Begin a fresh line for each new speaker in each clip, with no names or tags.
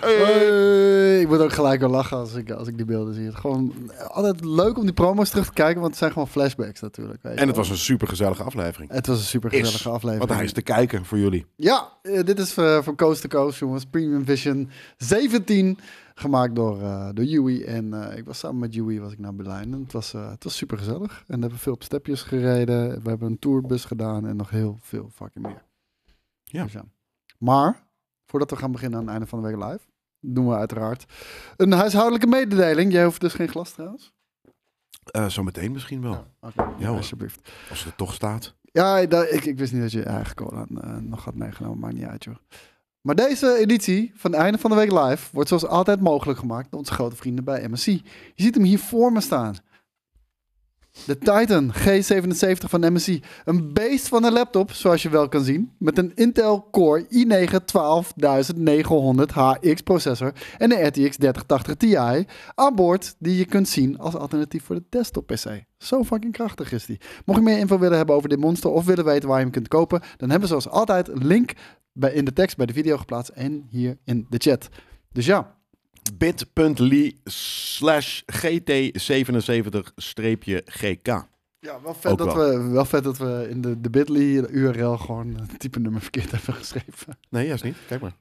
Hey, Eh, Ik word ook gelijk al lachen als ik, als ik die beelden zie. Het is gewoon eh, altijd leuk om die promo's terug te kijken, want het zijn gewoon flashbacks natuurlijk. Weet je
En het
wel.
was een supergezellige aflevering.
Het was een supergezellige aflevering.
Want hij is te kijken voor jullie.
Ja, eh, dit is eh, van Coast to Coast, jongens. Premium Vision 17, gemaakt door, eh door Yui. En eh, ik was samen met Yui was ik naar Berlijn. En het was, eh, het was supergezellig. En we hebben veel op stepjes gereden. We hebben een tourbus gedaan en nog heel veel fucking meer.
Ja.
Dus Maar, voordat we gaan beginnen aan het einde van de week live, doen we uiteraard een huishoudelijke mededeling. Jij hoeft dus geen glas trouwens.
Eh Zometeen misschien wel.
Oké,
Ja, hoor.
alsjeblieft.
Als het er toch staat.
Ja, da- ik, ik wist niet dat je je eigen cola eh, nog had meegenomen. Maakt niet uit, joh. Maar deze editie van het einde van de week live wordt zoals altijd mogelijk gemaakt door onze grote vrienden bij MSC. Je ziet hem hier voor me staan. De Titan G77 van MSC. Een beest van een laptop, zoals je wel kan zien. Met een Intel Core i9 12900HX processor en een RTX 3080 Ti aan boord die je kunt zien als alternatief voor de desktop PC. Zo fucking krachtig is die. Mocht je meer info willen hebben over dit monster of willen weten waar je hem kunt kopen, dan hebben we zoals altijd een link bij, in de tekst bij de video geplaatst en hier in de chat. Dus ja,
bit.ly slash gt77-gk.
ja wel, vet
Ook
dat We, wel vet dat we in de, de bit.ly de URL gewoon het type nummer verkeerd hebben geschreven.
Nee, juist niet. Kijk maar.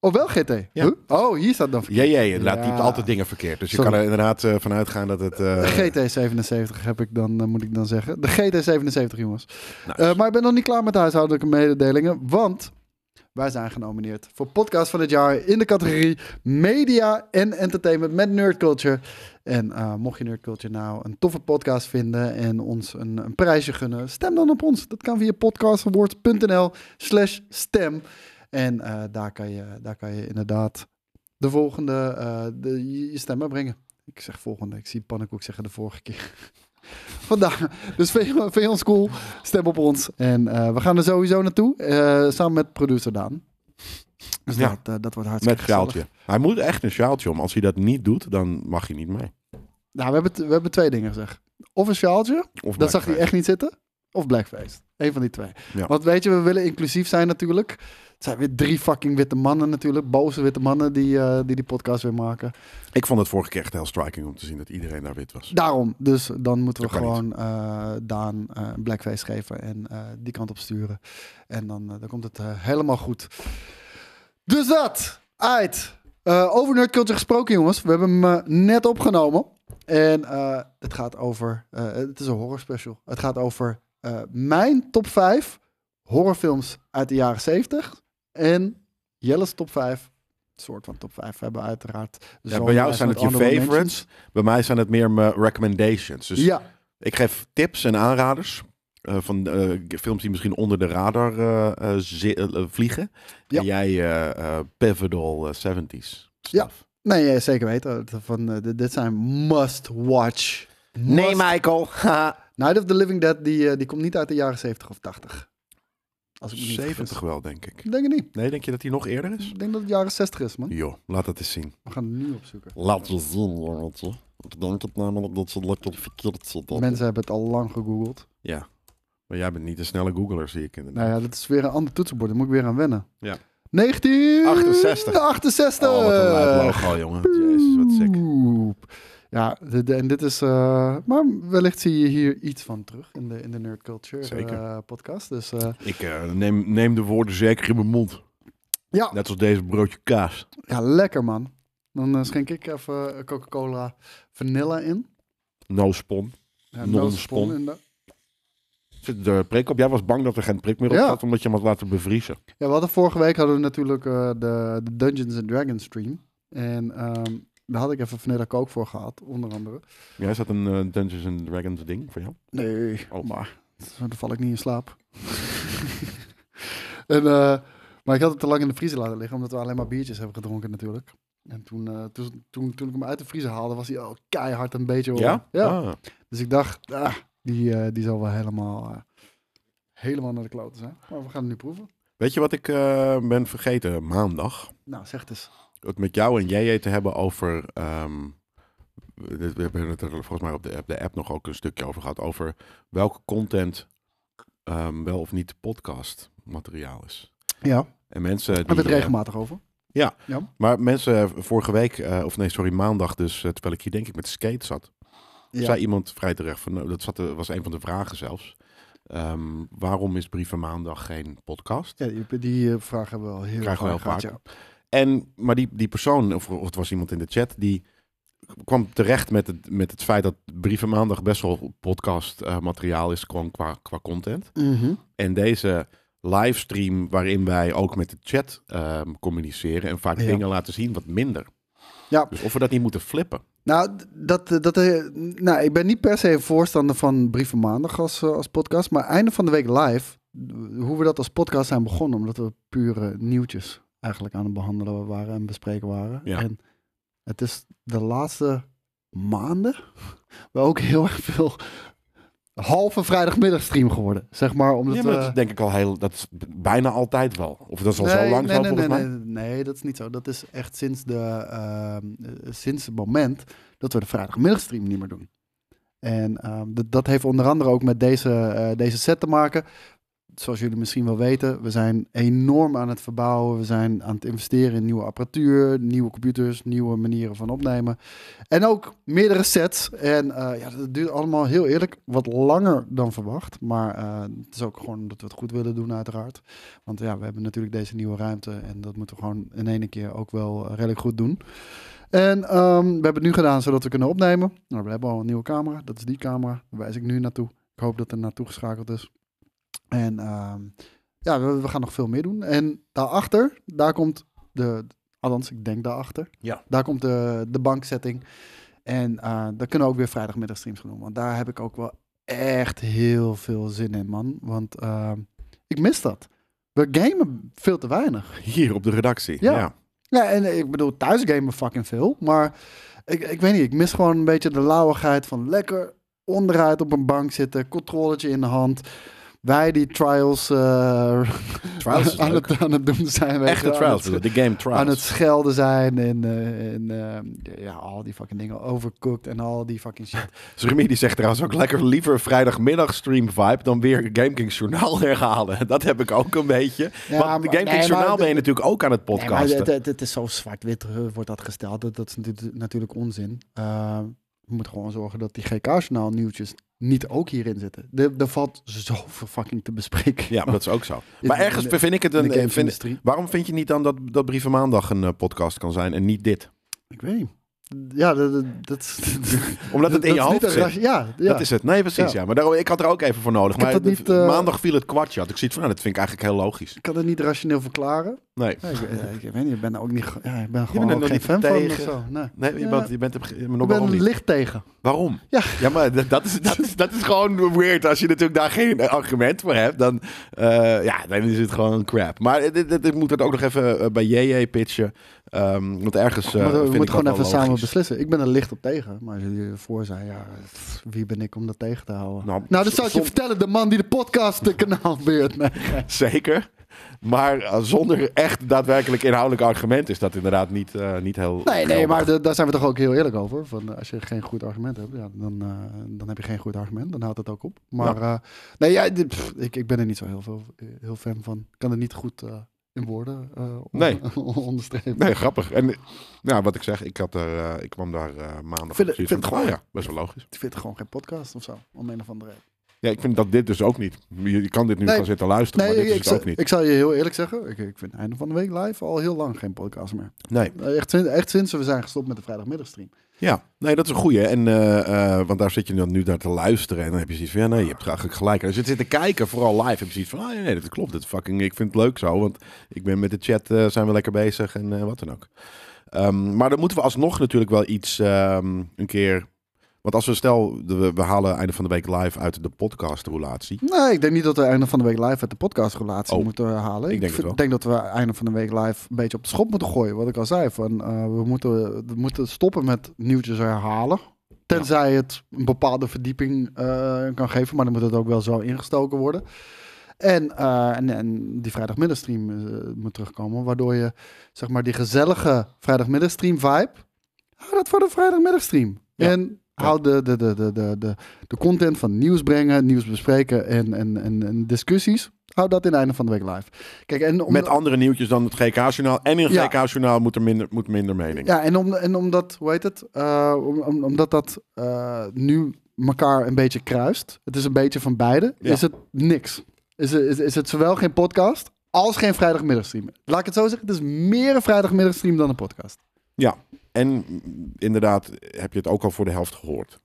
Of wel GT?
Ja.
Huh? Oh, hier staat dan verkeerd.
Jij, jij, laat
Ja.
typt altijd dingen verkeerd. Dus je
Sorry.
kan er inderdaad eh, vanuit gaan dat het... eh,
De GT77 heb ik dan, eh, moet ik dan zeggen. De GT77, jongens.
nou,
Eh, maar ik ben nog niet klaar met de huishoudelijke mededelingen, want wij zijn genomineerd voor podcast van het jaar in de categorie media en entertainment met nerd culture. En eh, mocht je nerd culture nou een toffe podcast vinden en ons een, een prijsje gunnen, stem dan op ons. Dat kan via podcastawards.nl slash stem. En eh, daar, kan je, daar kan je inderdaad de volgende, eh, de, je- je stem brengen. Ik zeg volgende, ik zie Pannenkoek zeggen de vorige keer. Vandaar. Dus vind je, vind je ons cool? Stem op ons. En eh, we gaan er sowieso naartoe. eh, samen met producer Daan. Dus
Ja.
dat, eh, dat wordt
met
hartstikke gezellig.
sjaaltje. Hij moet echt een sjaaltje om. Als hij dat niet doet, dan mag hij niet mee.
Nou, we hebben, t- we hebben twee dingen gezegd. Of een sjaaltje,
Of
dat zag hij
blackface.
echt niet zitten. Of blackface. Eén van die twee.
Ja.
Want weet je, we willen inclusief zijn natuurlijk. Het zijn weer drie fucking witte mannen natuurlijk. Boze witte mannen die eh, die, die podcast weer maken.
Ik vond het vorige keer echt heel striking om te zien dat iedereen daar wit was.
Daarom. Dus dan moeten we
Dat kan
gewoon eh, Daan eh, een blackface geven en eh, die kant op sturen. En dan, eh, dan komt het eh, helemaal goed. Dus dat, uit. Eh, over Nerd Culture gesproken, jongens. We hebben hem eh, net opgenomen. En eh, het gaat over... eh, het is een horror special. Het gaat over eh, mijn top 5 horrorfilms uit de jaren 70. En Jelle's top 5. soort van top 5 hebben we uiteraard.
Ja, bij jou zijn het je favorites. Bij mij zijn het meer mijn recommendations. Dus
Ja,
ik geef tips en aanraders. eh, van eh, films die misschien onder de radar eh, eh, zi- eh, vliegen.
Ja.
En jij eh, eh, Pivotal eh, 70s.
Ja. Nee, ja, zeker weten. Dat Van, eh, dit- dit zijn must-watch. Must-
Michael.
Night of the Living Dead, die, eh, die komt niet uit de jaren 70 of 80. Als ik me niet
70
vergis.
wel, denk ik.
Ik denk het niet.
Nee, denk je dat hij nog eerder is?
Ik denk dat het jaren 60 is, man.
Joh, laat dat eens zien.
We gaan het nu opzoeken.
Laat je zien, jongetje. Ik denk het namelijk dat ze lekker verkeerd zitten.
Mensen hebben het al lang gegoogeld.
Ja. Maar jij bent niet een snelle googler, zie ik inderdaad.
Nou ja, dat is weer een ander toetsenbord. Daar moet ik weer aan wennen.
Ja.
1968.
68. Oh, wat een luid logo, jongen. Jezus, wat sick.
Oep. Ja, dit- en dit is. eh, maar wellicht zie je hier iets van terug in de, in de Nerd Culture
Zeker.
eh, podcast. Dus eh,
Ik eh, neem, neem de woorden zeker in mijn mond.
ja,
Net als deze broodje kaas.
Ja, lekker man. Dan eh, schenk ik even eh, Coca-Cola vanilla in.
No spon.
Ja,
Non-spon.
nootspon in de-
Zit de prik op? Jij was bang dat er geen prik meer op
Ja.
zat, omdat je hem had laten bevriezen.
Ja, we hadden vorige week hadden we natuurlijk eh, de, de Dungeons and Dragons stream. En ehm, daar had ik even vanilla coke voor gehad, onder andere.
Ja, is dat een eh, Dungeons and Dragons ding voor jou?
Nee,
Oh.
maar dan val ik niet in slaap. en, eh, maar ik had het te lang in de vriezer laten liggen, omdat we alleen maar biertjes hebben gedronken natuurlijk. En toen, eh, toen, toen, toen ik hem uit de vriezer haalde, was hij al keihard een beetje...
Ja?
ja.
Ah.
Dus ik dacht, ah, die, eh, die zal wel helemaal, eh, helemaal naar de kloten zijn. Maar we gaan het nu proeven.
Weet je wat ik eh, ben vergeten maandag?
Nou, zeg het eens.
Het met jou en JJ te hebben over... ehm, we we hebben het er volgens mij op de app, de app nog ook een stukje over gehad. Over welke content ehm, wel of niet podcast materiaal is.
Ja,
En mensen
daar hebben we
die...
het
eh,
regelmatig over.
Maar mensen, eh, vorige week, eh, of nee, sorry, maandag dus, eh, terwijl ik hier denk ik met skate zat,
Ja.
zei iemand vrij terecht van, nou, dat zat, er- was een van de vragen zelfs. Ehm, waarom is Brieven Maandag geen podcast?
Ja, die, die eh, vraag hebben we al heel
Krijgen we heel
gehad,
vaak. En, maar die, die persoon, of, of het was iemand in de chat, die kwam terecht met het, met het feit dat Brieven Maandag best wel podcast eh, materiaal is gewoon qua, qua content.
ja. Mhm.
En deze livestream waarin wij ook met de chat ehm, communiceren en vaak
Ja.
dingen laten zien wat minder.
Ja.
Dus of we dat niet moeten flippen.
Nou, d- dat, eh, dat, eh, nou, ik ben niet per se een voorstander van Brieven Maandag als, eh, als podcast. Maar einde van de week live, eh, hoe we dat als podcast zijn begonnen. Omdat we pure nieuwtjes eigenlijk aan het behandelen waren en bespreken waren.
Ja.
En het is de laatste maanden wel ook heel erg veel halve vrijdagmiddagstream geworden. Zeg maar, omdat eh,
ja, maar dat
we-
is denk ik al heel, dat is b- bijna altijd wel. Of dat is al zo lang
nee,
zo
nee,
volgens mij.
nee, nee, nee, dat is niet zo. Dat is echt sinds, de, ehm, eh, sinds het moment dat we de vrijdagmiddagstream niet meer doen. En ehm, dat, dat heeft onder andere ook met deze, eh, deze set te maken. Zoals jullie misschien wel weten, we zijn enorm aan het verbouwen. We zijn aan het investeren in nieuwe apparatuur, nieuwe computers, nieuwe manieren van opnemen. En ook meerdere sets. En eh, ja, dat duurt allemaal heel eerlijk wat langer dan verwacht. Maar eh, het is ook gewoon dat we het goed willen doen, uiteraard. Want ja, we hebben natuurlijk deze nieuwe ruimte en dat moeten we gewoon in ene keer ook wel eh, redelijk goed doen. En ehm, we hebben het nu gedaan zodat we kunnen opnemen. Nou, we hebben al een nieuwe camera, dat is die camera. Daar wijs ik nu naartoe. Ik hoop dat er naartoe geschakeld is. En ehm, ja, we, we gaan nog veel meer doen. En daarachter, daar komt de, althans ik denk daarachter,
Ja.
daar komt de, de banksetting. En eh daar kunnen we ook weer vrijdagmiddag streams gaan doen. Want daar heb ik ook wel echt heel veel zin in, man. Want ehm, ik mis dat. We gamen veel te weinig.
Hier op de redactie.
Ja.
Ja.
Ja, en ik bedoel, thuis gamen we fucking veel. Maar ik, ik weet niet, ik mis gewoon een beetje de lauwigheid van lekker onderuit op een bank zitten, controletje in de hand. Wij die trials, eh,
Trials is
aan,
leuk.
het, aan het doen zijn. weet je
Echte
wel,
trials,
aan het,
bedoel, de game trials.
aan het schelden zijn en, eh, en eh, ja, al die fucking dingen overcooked en al die fucking shit.
Dus Remy die zegt trouwens ook lekker liever vrijdagmiddag stream vibe dan weer Game Kings Journaal herhalen. Dat heb ik ook een beetje.
Ja,
Want de
maar-
Game
nee, maar
Kings Journaal
de-
ben je natuurlijk ook aan het
Nee, maar
podcasten.
het, het, het is zo zwart-wit eh, wordt dat gesteld. Dat, dat is natu- natuurlijk onzin. Eh, we moeten gewoon zorgen dat die GK-journaal nieuwtjes niet ook hierin zitten. Er er valt zoveel fucking te bespreken.
Ja, maar dat is ook zo.
In-
Maar ergens
in de-
vind ik het
in de
een... vind-
gamesindustrie.
waarom vind je niet dan dat, dat Brieven Maandag een eh, podcast kan zijn en niet dit?
Ik weet niet. Ja, dat, dat, dat,
Omdat het in je
dat is niet
hoofd
een
zit.
raci- Ja, ja.
Dat is het. Nee, precies.
Ja.
Ja. Maar daarom, ik had er ook even voor nodig.
Ik heb
maar
dat
de-
niet, eh,
maandag viel het kwartje. Had ik zoiets van, nou, dat vind ik eigenlijk heel logisch.
Ik kan het niet rationeel verklaren.
Nee.
Nee, ik, eh, ik, ik weet niet, ik ben er ook niet... ge- Ja, ik ben
bent
gewoon
er
ook
nog
geen
niet
fan van of
tegen.
zo. Nee.
Nee, je
Ja.
bent, je bent er ge- maar
Ik
nog
ben
waarom
er
niet.
licht tegen.
Waarom?
Ja.
ja maar dat, dat, is, dat, is, dat is gewoon weird. Als je natuurlijk daar geen eh, argument voor hebt, dan, eh, ja, dan is het gewoon crap. Maar dit- dit- ik moet dat ook nog even eh, bij JJ pitchen. Ehm, want ergens eh
Maar we
vind ik
moeten gewoon
dat
even
wel
samen
logisch.
beslissen. Ik ben er licht op tegen. Maar als jullie ervoor zijn, ja, pff, wie ben ik om dat tegen te houden? Nou,
Nou,
dat zou ik je
som-
vertellen. De man die de podcast de kanaal beurt. Nee.
Zeker. Maar eh, zonder echt daadwerkelijk inhoudelijk argument is dat inderdaad niet, eh, niet heel...
nee, nee,
geldig.
maar da- daar zijn we toch ook heel eerlijk over. Van, eh, als je geen goed argument hebt, ja, dan, eh, dan heb je geen goed argument. Dan houdt het ook op. Maar eh, nee, ja, dit- pff, ik, ik ben er niet zo heel, veel, heel fan van. Ik kan het niet goed eh, in woorden eh, on-
Nee.
onderstrepen.
Nee, grappig. En eh, nou, wat ik zeg, ik, had er, eh, ik kwam daar eh, maandag
Vind het-
precies
vind het
van,
gewoon-
oh ja, best wel logisch.
Ik vind het gewoon geen podcast of zo. Om een of andere reden.
Ja, ik vind dat dit dus ook niet. Je, je kan dit nu
Nee.
gaan zitten luisteren, maar dit is
ik,
het
zou
ook niet.
ik zal je heel eerlijk zeggen. Ik, ik vind einde van de week live al heel lang geen podcast meer. Eh,
Nee.
Echt, sin- echt sinds we zijn gestopt met de vrijdagmiddagstream.
Ja, nee, dat is een goeie. En, eh, eh, want daar zit je dan nu naar te luisteren en dan heb je zoiets van, ja, nee, je hebt eigenlijk gelijk. En als je het zit te kijken, vooral live, heb je zoiets van, ah, ja, nee, dat klopt, dat fucking, ik vind het leuk zo, want ik ben met de chat, eh, zijn we lekker bezig en eh, wat dan ook. Ehm, maar dan moeten we alsnog natuurlijk wel iets ehm, een keer... Want als we stel, de- we, we halen einde van de week live uit de podcastrolatie.
Nee, ik denk niet dat we einde van de week live uit de podcastrelatie
Oh,
moeten halen.
ik denk het
vind-
wel.
denk dat we einde van de week live een beetje op de schop moeten gooien. Wat ik al zei, van, eh, we, moeten, we moeten stoppen met nieuwtjes herhalen. Tenzij het een bepaalde verdieping eh, kan geven, maar dan moet het ook wel zo ingestoken worden. En, eh, en, en die vrijdagmiddagstream eh, moet terugkomen, waardoor je zeg maar die gezellige vrijdagmiddagstream vibe, hou dat voor de vrijdagmiddagstream.
Ja.
En
Ja.
hou de, de, de, de, de, de, de content van nieuws brengen, nieuws bespreken en, en, en, en discussies Hou dat in het einde van de week live. Kijk, en om,
Met andere nieuwtjes dan het GK-journaal. En in het
Ja.
GK-journaal moet er minder, moet minder mening.
ja, en, om, en omdat, hoe heet het? Eh, om, om- omdat dat eh, nu elkaar een beetje kruist. Het is een beetje van beide.
Ja.
Is het niks. Is, het- is, is het zowel geen podcast als geen vrijdagmiddagstream. Laat ik het zo zeggen. Het is meer een vrijdagmiddagstream dan een podcast.
Ja, en mm, inderdaad heb je het ook al voor de helft gehoord.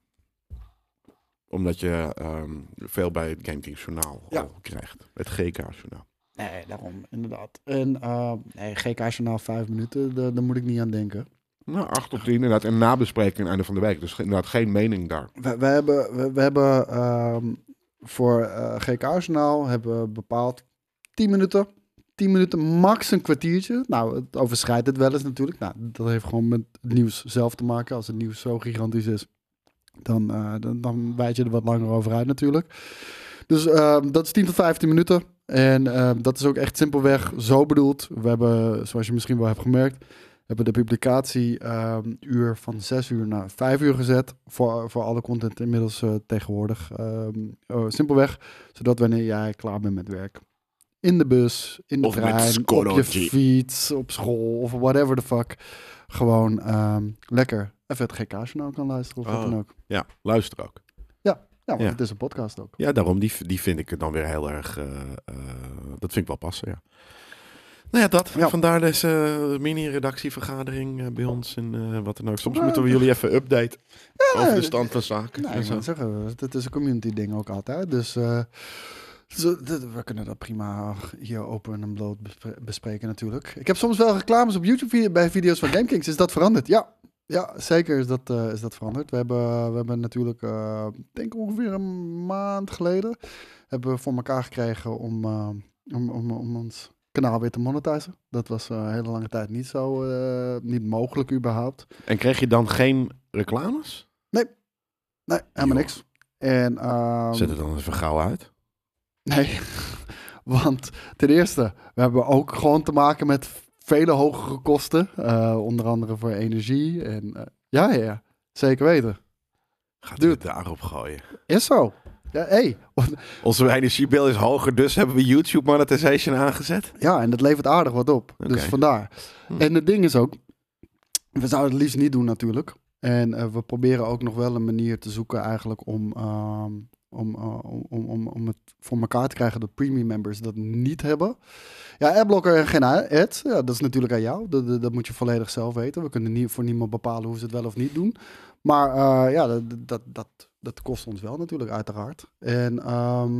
Omdat je ehm, veel bij het Game Teams journaal
Ja.
al krijgt. Het GK-journaal.
Nee, daarom. Inderdaad. En eh, nee, GK-journaal vijf minuten. Daar, daar moet ik niet aan denken.
Nou, 8 tot 10 inderdaad. En nabespreking aan het einde van de week. Dus ge- inderdaad geen mening daar.
We, we hebben, we, we hebben ehm, voor eh GK Arsenaal hebben we bepaald 10 minuten. 10 minuten, max een kwartiertje. Nou, het overschrijdt het wel eens natuurlijk. Nou, dat heeft gewoon met het nieuws zelf te maken. Als het nieuws zo gigantisch is, dan, eh dan, dan wijd je er wat langer over uit natuurlijk. Dus ehm, dat is 10 tot 15 minuten. En ehm, dat is ook echt simpelweg zo bedoeld. We hebben, zoals je misschien wel hebt gemerkt, hebben de publicatieuur van 6 uur naar 5 uur gezet. Voor, voor alle content inmiddels eh, tegenwoordig. Ehm, eh, simpelweg, zodat wanneer jij klaar bent met werk. In de bus, in de
Of met
trein, op je
Schoology.
fiets, op school of whatever the fuck. Gewoon ehm, lekker even het GK-journaal kan luisteren of wat
Oh.
dan ook.
Ja, luister ook.
Ja, want
Ja.
het is een podcast ook.
Ja, daarom. Die, v- die vind ik er dan weer heel erg... eh, eh, dat vind ik wel passen, ja. Nou ja, dat.
Ja.
Vandaar deze eh, mini-redactievergadering eh, bij ons en eh, wat dan ook. Soms
Nou,
moeten we jullie even updaten over de
nee,
stand van zaken.
Nou,
en
ik
zo.
moet zeggen, dat is een community ding ook altijd. Dus eh, zo- dat- we kunnen dat prima hier open en bloot bespre- bespreken natuurlijk. Ik heb soms wel reclames op YouTube vide- bij video's van GameKings. Is dat veranderd? Ja. Ja, zeker is dat, eh, is dat veranderd. We hebben, we hebben natuurlijk, eh, ik denk ongeveer een maand geleden, hebben we voor elkaar gekregen om, eh, om, om, om ons kanaal weer te monetizen. Dat was eh, een hele lange tijd niet zo, eh, niet mogelijk überhaupt.
En kreeg je dan geen reclames?
Nee, helemaal
Joh.
niks. En, ehm,
Zet het dan even gauw uit.
Nee, want ten eerste, we hebben ook gewoon te maken met vele hogere kosten. Eh, onder andere voor energie. En, eh, ja, ja, ja, zeker weten.
Gaat
Dude.
u het daarop gooien.
Is zo. Ja, hey.
Onze energiebil is hoger, dus hebben we YouTube monetization aangezet.
ja, en dat levert aardig wat op.
Oké.
Dus vandaar.
Hm.
En het ding is ook, we zouden het liefst niet doen natuurlijk. En eh, we proberen ook nog wel een manier te zoeken eigenlijk om, ehm, om, eh, om, om, om, om het voor elkaar te krijgen dat premium members dat niet hebben. Ja, adblocker en geen ads, ja, dat is natuurlijk aan jou. Dat, dat, dat moet je volledig zelf weten. We kunnen niet, voor niemand bepalen hoe ze het wel of niet doen. Maar eh, ja, dat, dat, dat, dat kost ons wel natuurlijk uiteraard. En ehm,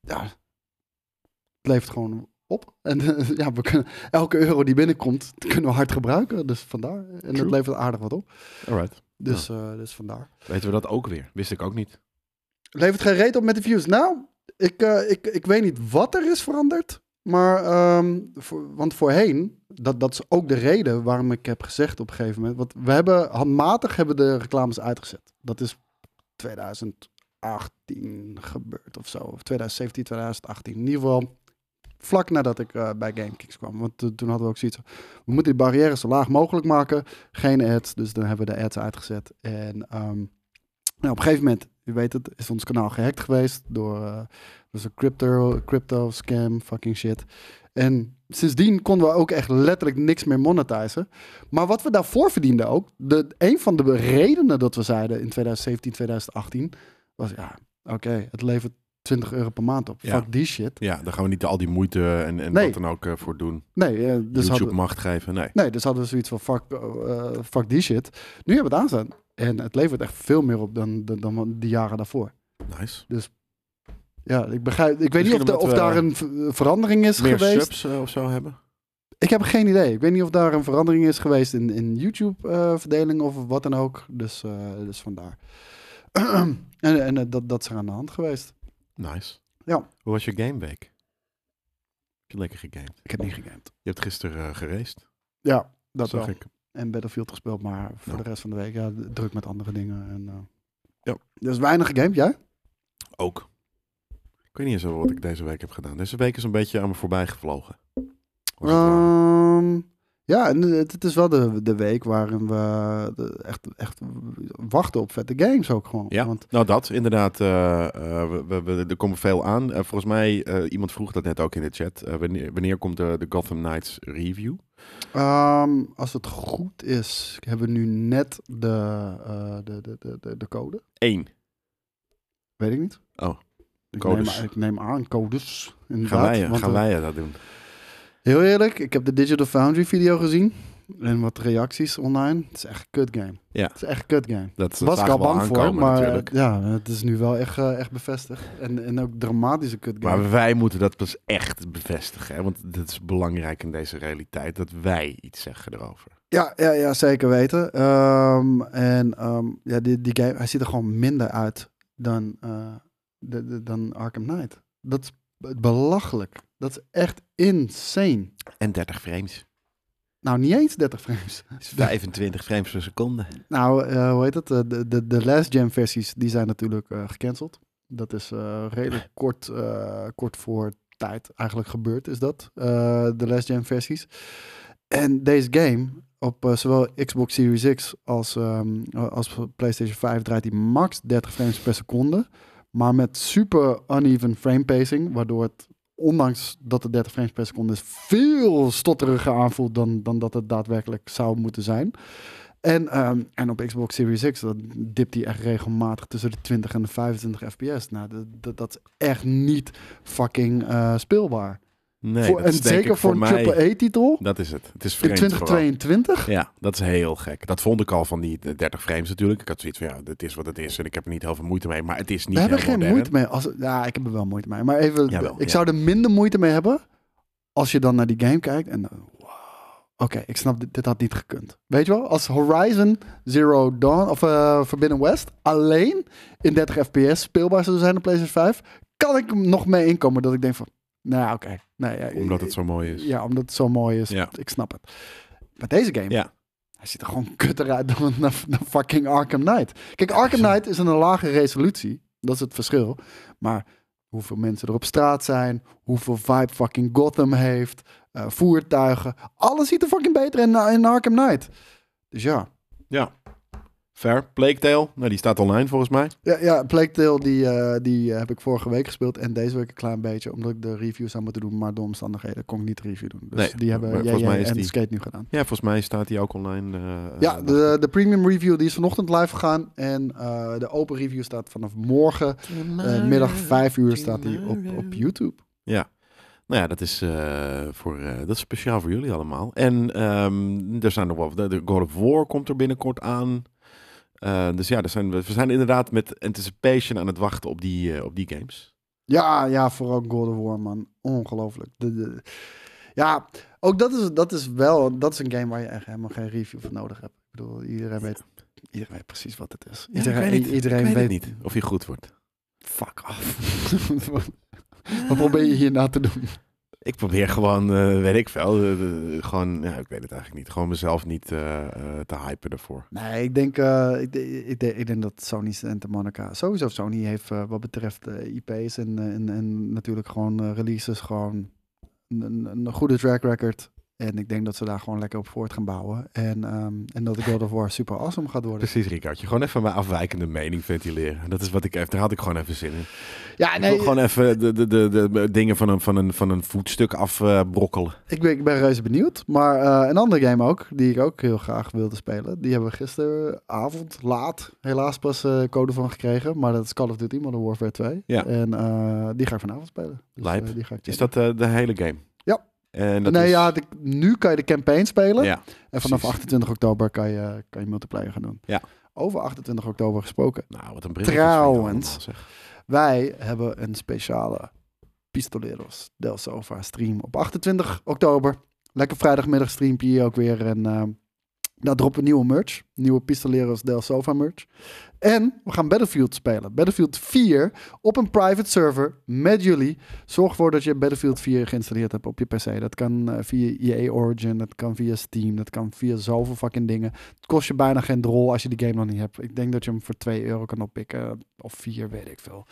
ja, het levert gewoon op. En ja, we kunnen, elke euro die binnenkomt, die kunnen we hard gebruiken. Dus vandaar. En
True.
dat levert aardig wat op.
Alright.
Dus, eh, dus vandaar.
Weten we dat ook weer? Wist ik ook niet.
Levert geen reet op met de views. Nou, ik, eh, ik, ik weet niet wat er is veranderd. Maar, ehm, voor- want voorheen, dat, dat is ook de reden waarom ik heb gezegd op een gegeven moment. Want we hebben handmatig hebben de reclames uitgezet. Dat is 2018 gebeurd of zo. Of 2017, 2018. In ieder geval vlak nadat ik eh, bij GameKings kwam. Want to- toen hadden we ook zoiets van, we moeten die barrières zo laag mogelijk maken. Geen ads, dus dan hebben we de ads uitgezet. En ehm, nou, op een gegeven moment, u weet het, is ons kanaal gehackt geweest door eh, dus een crypto, crypto scam, fucking shit. En sindsdien konden we ook echt letterlijk niks meer monetizen. Maar wat we daarvoor verdienden ook, de, een van de redenen dat we zeiden in 2017, 2018, was ja, oké, het levert 20 euro per maand op.
Ja.
Fuck die shit.
Ja, daar gaan we niet al die moeite en, en
Nee.
wat dan ook eh, voor doen.
Nee, eh, dus
YouTube
hadden,
macht geven, nee.
Nee, dus hadden we zoiets van fuck, eh, fuck die shit. Nu hebben we het aanstaan. En het levert echt veel meer op dan, dan, dan die jaren daarvoor.
Nice.
Ja, ik begrijp. Ik weet niet of,
Misschien
de- of
omdat we
daar een ver- verandering is
Meer
geweest.
subs eh, of zo hebben?
Ik heb geen idee. Ik weet niet of daar een verandering is geweest in, in YouTube-verdeling of wat dan ook. Dus, eh, dus vandaar. en en eh, dat, dat is er aan de hand geweest.
Nice.
Ja.
Hoe was je gameweek? Heb je lekker gegamed?
Ik heb niet gegamed.
Je hebt gisteren eh, geraced,
Ja, dat
zag
wel.
ik.
en Battlefield gespeeld, maar voor
Ja.
de rest van de week ja, d- druk met andere dingen. En, eh.
Ja.
Dus weinig gegamed, jij?
Ook. Ik weet niet eens
Ah.
wat ik deze week heb gedaan. Deze week is een beetje aan me voorbij gevlogen. Was het waar?
Ehm, Ja, en het, het is wel de, de week waarin we eh, de- echt, echt wachten op vette games ook gewoon.
Ja,
Want
nou dat inderdaad. eh, eh, we, we- we- er komen veel aan. Eh, volgens mij, eh, iemand vroeg dat net ook in de chat. Eh, wanneer, wanneer komt de, de Gotham Knights review?
ehm, als het goed is, hebben we nu net de, eh, de, de, de, de, de code.
Eén.
Weet ik niet.
Oh,
ik neem,
codes.
aan- ik neem aan codes. Inderdaad,
Gaan wij,
want,
gaan
eh,
wij dat doen?
Heel eerlijk, ik heb de Digital Foundry video gezien. En wat reacties online. Het is echt een kut game.
Ja.
Het is echt een kut game.
Dat
was ik
zagen
al
we
bang voor,
aankomen
maar
natuurlijk.
eh, ja, het is nu wel echt, eh, echt bevestigd. En, en ook dramatische kut game.
Maar wij moeten dat pas echt bevestigen. Hè? Want dat is belangrijk in deze realiteit. Dat wij iets zeggen erover.
Ja, ja, ja, zeker weten. Ehm, en ehm, ja, die, die game, hij ziet er gewoon minder uit dan, eh, de, de- dan Arkham Knight. Dat is b- belachelijk. Dat is echt insane.
En 30 frames.
Nou, niet eens 30 frames.
25 frames per seconde.
Nou, eh, hoe heet het? Eh, De, de, de last gen versies, die zijn natuurlijk eh, gecanceld. Dat is eh, redelijk kort, eh, kort voor tijd eigenlijk gebeurd, is dat. eh, de last gen versies. En deze game, op eh, zowel Xbox Series X als, ehm, als PlayStation 5, draait die max 30 frames per seconde. Maar met super uneven frame pacing, waardoor het, ondanks dat het 30 frames per seconde is, veel stotteriger aanvoelt dan, dan dat het daadwerkelijk zou moeten zijn. En, ehm, en op Xbox Series X, dat dipt hij echt regelmatig tussen de 20 en de 25 fps. Nou, dat, dat, dat is echt niet fucking eh, speelbaar.
Nee,
Voor-
dat
en
is denk
zeker
ik
voor
voor
een
mij.
AAA-titel
Dat is het. Het is
in
vreemd vooral.
2022.
Ja, dat is heel gek. Dat vond ik al van die eh, 30 frames natuurlijk. Ik had zoiets van, ja, dit is wat het is en ik heb er niet heel veel moeite mee. Maar het is niet
We hebben
heel
er geen
modern.
moeite mee. Als, ja, ik heb er wel moeite mee. Maar even,
Jawel,
ik
ja.
zou er minder moeite mee hebben als je dan naar die game kijkt en dan, wow. Oké, ik snap, dit, dit had niet gekund. Weet je wel, als Horizon Zero Dawn of eh Forbidden West alleen in 30 fps speelbaar zou zijn op PlayStation 5, kan ik hem nog mee inkomen dat ik denk van, nou ja, oké. Nee, ja,
Omdat het zo mooi is.
Ja, omdat het zo mooi is.
Ja.
Ik snap het. Maar deze game,
Ja.
hij ziet er gewoon kutter uit dan, dan, dan fucking Arkham Knight. Kijk, Arkham
zo.
Knight is een lage resolutie. Dat is het verschil. Maar hoeveel mensen er op straat zijn, hoeveel vibe fucking Gotham heeft, eh, voertuigen. Alles ziet er fucking beter in, eh, in Arkham Knight. Dus ja.
Fair. Plague Tale. Nou, die staat online volgens mij.
Ja, ja Plague Tale, die, eh, die eh, heb ik vorige week gespeeld. En deze week een klein beetje, omdat ik de review zou moeten doen. Maar door omstandigheden kon ik niet de review doen. Dus
Nee,
die
maar
hebben jij
volgens mij
jij
is
en
die-
Skate nu gedaan.
Ja, volgens mij staat die ook online. eh,
Ja,
eh,
de, de premium review die is vanochtend live gegaan. En eh, de open review staat vanaf morgen eh, middag 5 uur staat die op, op YouTube.
Nou ja, dat is, eh, voor, eh, dat is speciaal voor jullie allemaal. En ehm, er zijn nog wel. de- De God of War komt er binnenkort aan. Eh, dus ja, er zijn, we we zijn inderdaad met anticipation aan het wachten op die, eh, op die games.
Ja, ja, vooral God of War, man. Ongelooflijk. De, de- ja, ook dat is, dat is wel... Dat is een game waar je echt helemaal geen review voor nodig hebt. Ik bedoel, iedereen weet, iedereen weet precies wat het is.
ik
Iedereen,
weet het.
iedereen
Ik weet
weet...
het niet of die goed wordt.
Fuck off. wat probeer je hierna te doen?
Ik probeer gewoon, eh, weet ik veel, eh, eh, gewoon, ja, ik weet het eigenlijk niet, gewoon mezelf niet eh, eh, te hypen ervoor.
Nee, ik denk, eh, ik, de- ik, de- ik denk dat Sony Santa Monica... Sowieso Sony heeft eh, wat betreft eh, IP's en, eh, en, en natuurlijk gewoon eh, releases... gewoon een, een, een goede track record. En ik denk dat ze daar gewoon lekker op voort gaan bouwen. En, ehm, en dat God of War super awesome gaat worden.
Precies, Ricardo. Gewoon even mijn afwijkende mening ventileren. Dat is wat ik even, daar had ik gewoon even zin in.
Ja,
ik
nee,
wil gewoon even de, de, de, de dingen van een, van een, van een voetstuk afbrokkelen.
ik ben, ik ben reuze benieuwd. Maar eh, een andere game ook, die ik ook heel graag wilde spelen... die hebben we gisteravond laat helaas pas eh, code van gekregen. Maar dat is Call of Duty Modern Warfare 2.
Ja.
En eh, die ga ik vanavond spelen. Dus,
Lijp.
eh, die ga ik
is
checken.
dat eh, de hele game?
Ja.
En dat
nee,
is-
ja, de- nu kan je de campaign spelen.
ja.
en vanaf
precies.
28 oktober kan je, kan je multiplayer gaan doen.
Ja.
Over 28 oktober gesproken.
Nou, wat een brilletjes
Trouwens.
van jou allemaal, zeg.
Wij hebben een speciale Pistoleros del Sofa stream op 28 oktober. Lekker vrijdagmiddag streampje hier ook weer. En eh daar droppen nieuwe merch. Nieuwe Pistoleros del Sofa merch. En we gaan Battlefield spelen. Battlefield 4 op een private server met jullie. Zorg ervoor dat je Battlefield 4 geïnstalleerd hebt op je PC. Dat kan eh, via EA Origin, dat kan via Steam, dat kan via zoveel fucking dingen. Het kost je bijna geen drol als je die game nog niet hebt. Ik denk dat je hem voor 2 euro kan oppikken. Of 4, weet ik veel.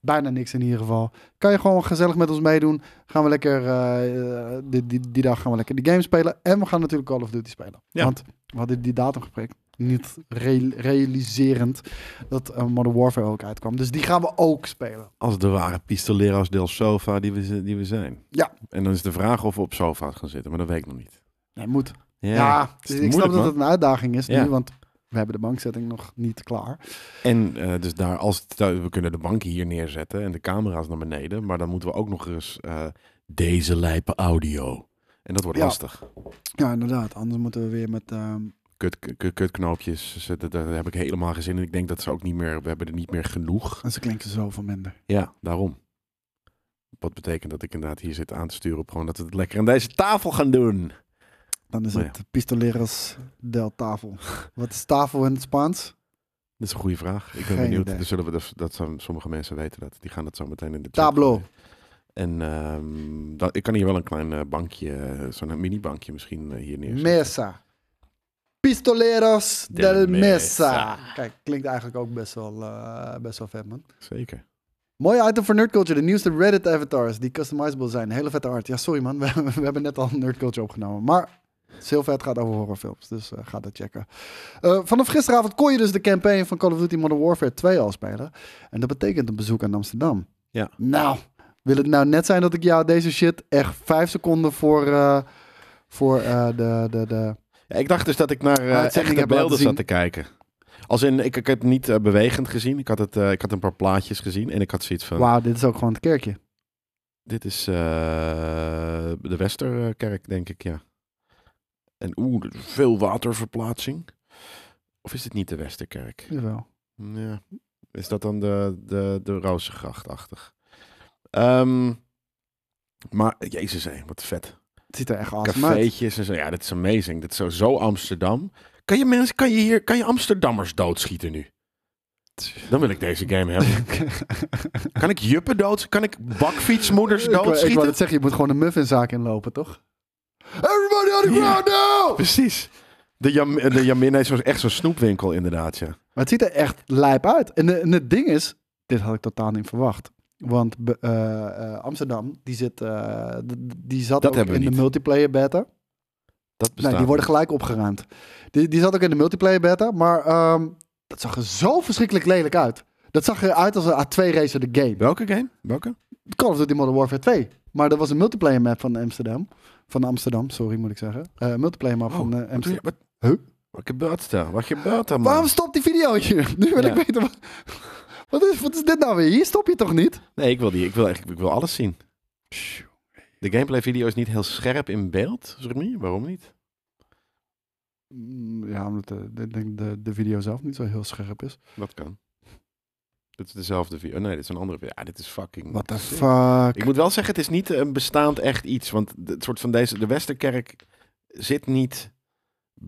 Bijna niks in ieder geval. Kan je gewoon gezellig met ons meedoen. Gaan we lekker, eh, eh, die, die, die dag gaan we lekker die game spelen. En we gaan natuurlijk Call of Duty spelen.
Ja.
Want we hadden die datum geprikt. Niet re- realiserend dat eh, Modern Warfare ook uitkwam. Dus die gaan we ook spelen.
Als de ware pistoleros del sofa die we, z- die we zijn.
Ja.
En dan is de vraag of we op sofa gaan zitten, maar dat weet ik nog niet.
Nee, moet. Ja,
is
ik
moeilijk,
snap dat
man.
het een uitdaging is
Ja.
nu, want we hebben de bankzetting nog niet klaar.
En eh, dus daar, als het- we kunnen de banken hier neerzetten en de camera's naar beneden, maar dan moeten we ook nog eens eh, deze lijpe audio. En dat wordt
Ja.
lastig.
Ja, inderdaad. Anders moeten we weer met... ehm,
Kut, kut, kutknoopjes, dus, eh, daar- daar heb ik helemaal geen zin in. Ik denk dat ze ook niet meer, we hebben er niet meer genoeg.
en ze klinken zoveel minder.
Ja, daarom. Wat betekent dat ik inderdaad hier zit aan te sturen op gewoon dat we het lekker aan deze tafel gaan doen.
Dan is
Maar ja.
het Pistoleros del Tafel. Wat is tafel in het Spaans?
Dat is een goede vraag. Ik ben
Geen
benieuwd.
idee.
Dus zullen we dat, dat zijn, sommige mensen weten dat. Die gaan dat zo meteen in de chat
Tablo.
gooien. En ehm, dat, ik kan hier wel een klein eh, bankje, eh, zo'n mini-bankje misschien eh, hier neerzetten.
Mesa. Pistoleros del,
Del
Mesa.
Mesa.
Kijk, klinkt eigenlijk ook best wel, eh, best wel vet, man.
Zeker.
Mooi item voor Nerd Culture. De nieuwste Reddit avatars die customizable zijn. Hele vette art. Ja, sorry man. We, we hebben net al Nerd Culture opgenomen. Maar Silver het gaat over horrorfilms. Dus eh, ga dat checken. Eh, vanaf gisteravond kon je dus de campaign van Call of Duty Modern Warfare 2 al spelen. En dat betekent een bezoek aan Amsterdam.
Ja.
Nou, wil het nou net zijn dat ik jou deze shit echt vijf seconden voor, eh, voor eh, de, de, de...
Ja, ik dacht dus dat ik naar eh,
Uitzending
echte
hebben laten
beelden zat
zien.
te kijken. Als in, ik, ik heb het niet eh, bewegend gezien. Ik had, het, eh, ik had een paar plaatjes gezien. En ik had zoiets van,
Wauw, dit is ook gewoon het kerkje.
dit is eh, de Westerkerk, denk ik, ja. En oeh, er is veel waterverplaatsing. Of is dit niet de Westerkerk?
Jawel.
Ja. Is dat dan de, de, de Rozengracht-achtig? Ehm, maar, jezus hé, wat vet.
Het ziet er echt awesome uit.
Cafeetjes en zo. Ja, dit is amazing. Dit is zo, zo Amsterdam. Kan je, mensen, kan, je hier, kan je Amsterdammers doodschieten nu? Dan wil ik deze game hebben. Kan ik juppen dood? Kan ik bakfietsmoeders
Ik wou- Ik wou
doodschieten?
het zeggen, je moet gewoon een muffinzaak inlopen, toch? Everybody on the ground now!
Precies. De, Jam, de Jamin heeft zo, echt zo'n snoepwinkel inderdaad, ja.
Maar het ziet er echt lijp uit. En, eh, en het ding is, dit had ik totaal niet verwacht. Want be- eh, eh, Amsterdam, die, zit, eh, d- d- die zat
Dat
ook
hebben we
in de
niet.
multiplayer beta.
Dat bestaat.
Nee, die worden gelijk opgeruimd. Die, die zat ook in de multiplayer beta, maar ehm, dat zag er zo verschrikkelijk lelijk uit. Dat zag eruit als een A2-racer de game.
Welke game? Welke?
Call of Duty Modern Warfare 2. Maar dat was een multiplayer map van Amsterdam. Van Amsterdam, sorry moet ik zeggen. Eh multiplayer map van eh,
Oh, Wat doe
Amsterdam.
je- Wat,
Huh?
wat gebeurt er? Wat gebeurt er, man?
Waarom stopt die video hier? Nu wil
Ja.
ik weten. Wat, wat, is, wat is dit nou weer? Hier stop je toch niet?
Nee, ik wil, die, ik, wil eigenlijk, ik wil alles zien. De gameplay video is niet heel scherp in beeld, zeg maar. Waarom niet?
Mm, Ja, omdat
eh,
de, ik denk de, de video zelf niet zo heel scherp is.
Dat kan. Dit is dezelfde video. Nee, dit is een andere video. Ja, dit is fucking...
What the
sick.
fuck?
Ik moet wel zeggen, het is niet een bestaand echt iets. Want de- het soort van deze, de Westerkerk zit niet...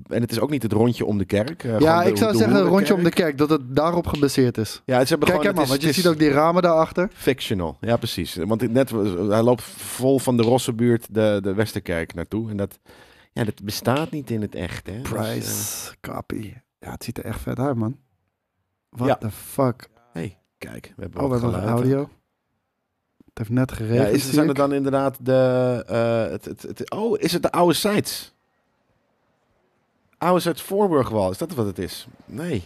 En het is ook niet het rondje om de kerk. eh, gewoon
Ja,
de-
ik zou
de
zeggen rondje om de
hoerenkerk.
kerk, dat het daarop gebaseerd is.
Ja, ze hebben
Kijk,
gewoon,
kijk maar,
het
want
is-
je
het is
ziet ook die ramen daarachter.
Fictional, ja precies. Want ik- net, was- hij loopt vol van de Rossenbuurt de, de Westerkerk naartoe. En dat, ja, dat bestaat niet in het echt. Hè? Dus, eh,
Price, copy. Ja, het ziet er echt vet uit, man. What
Ja.
the fuck?
Hey, eh, kijk, we hebben
Oh, we
wat
hebben nog
geluid, hè.
audio. Het heeft net geregend.
Ja, is,
zie
zijn
ik.
het dan inderdaad de... eh, het, het, het, oh, is het de oude sites? Oude sites Voorburgwal, is dat wat het is? Nee.
Nee,
Is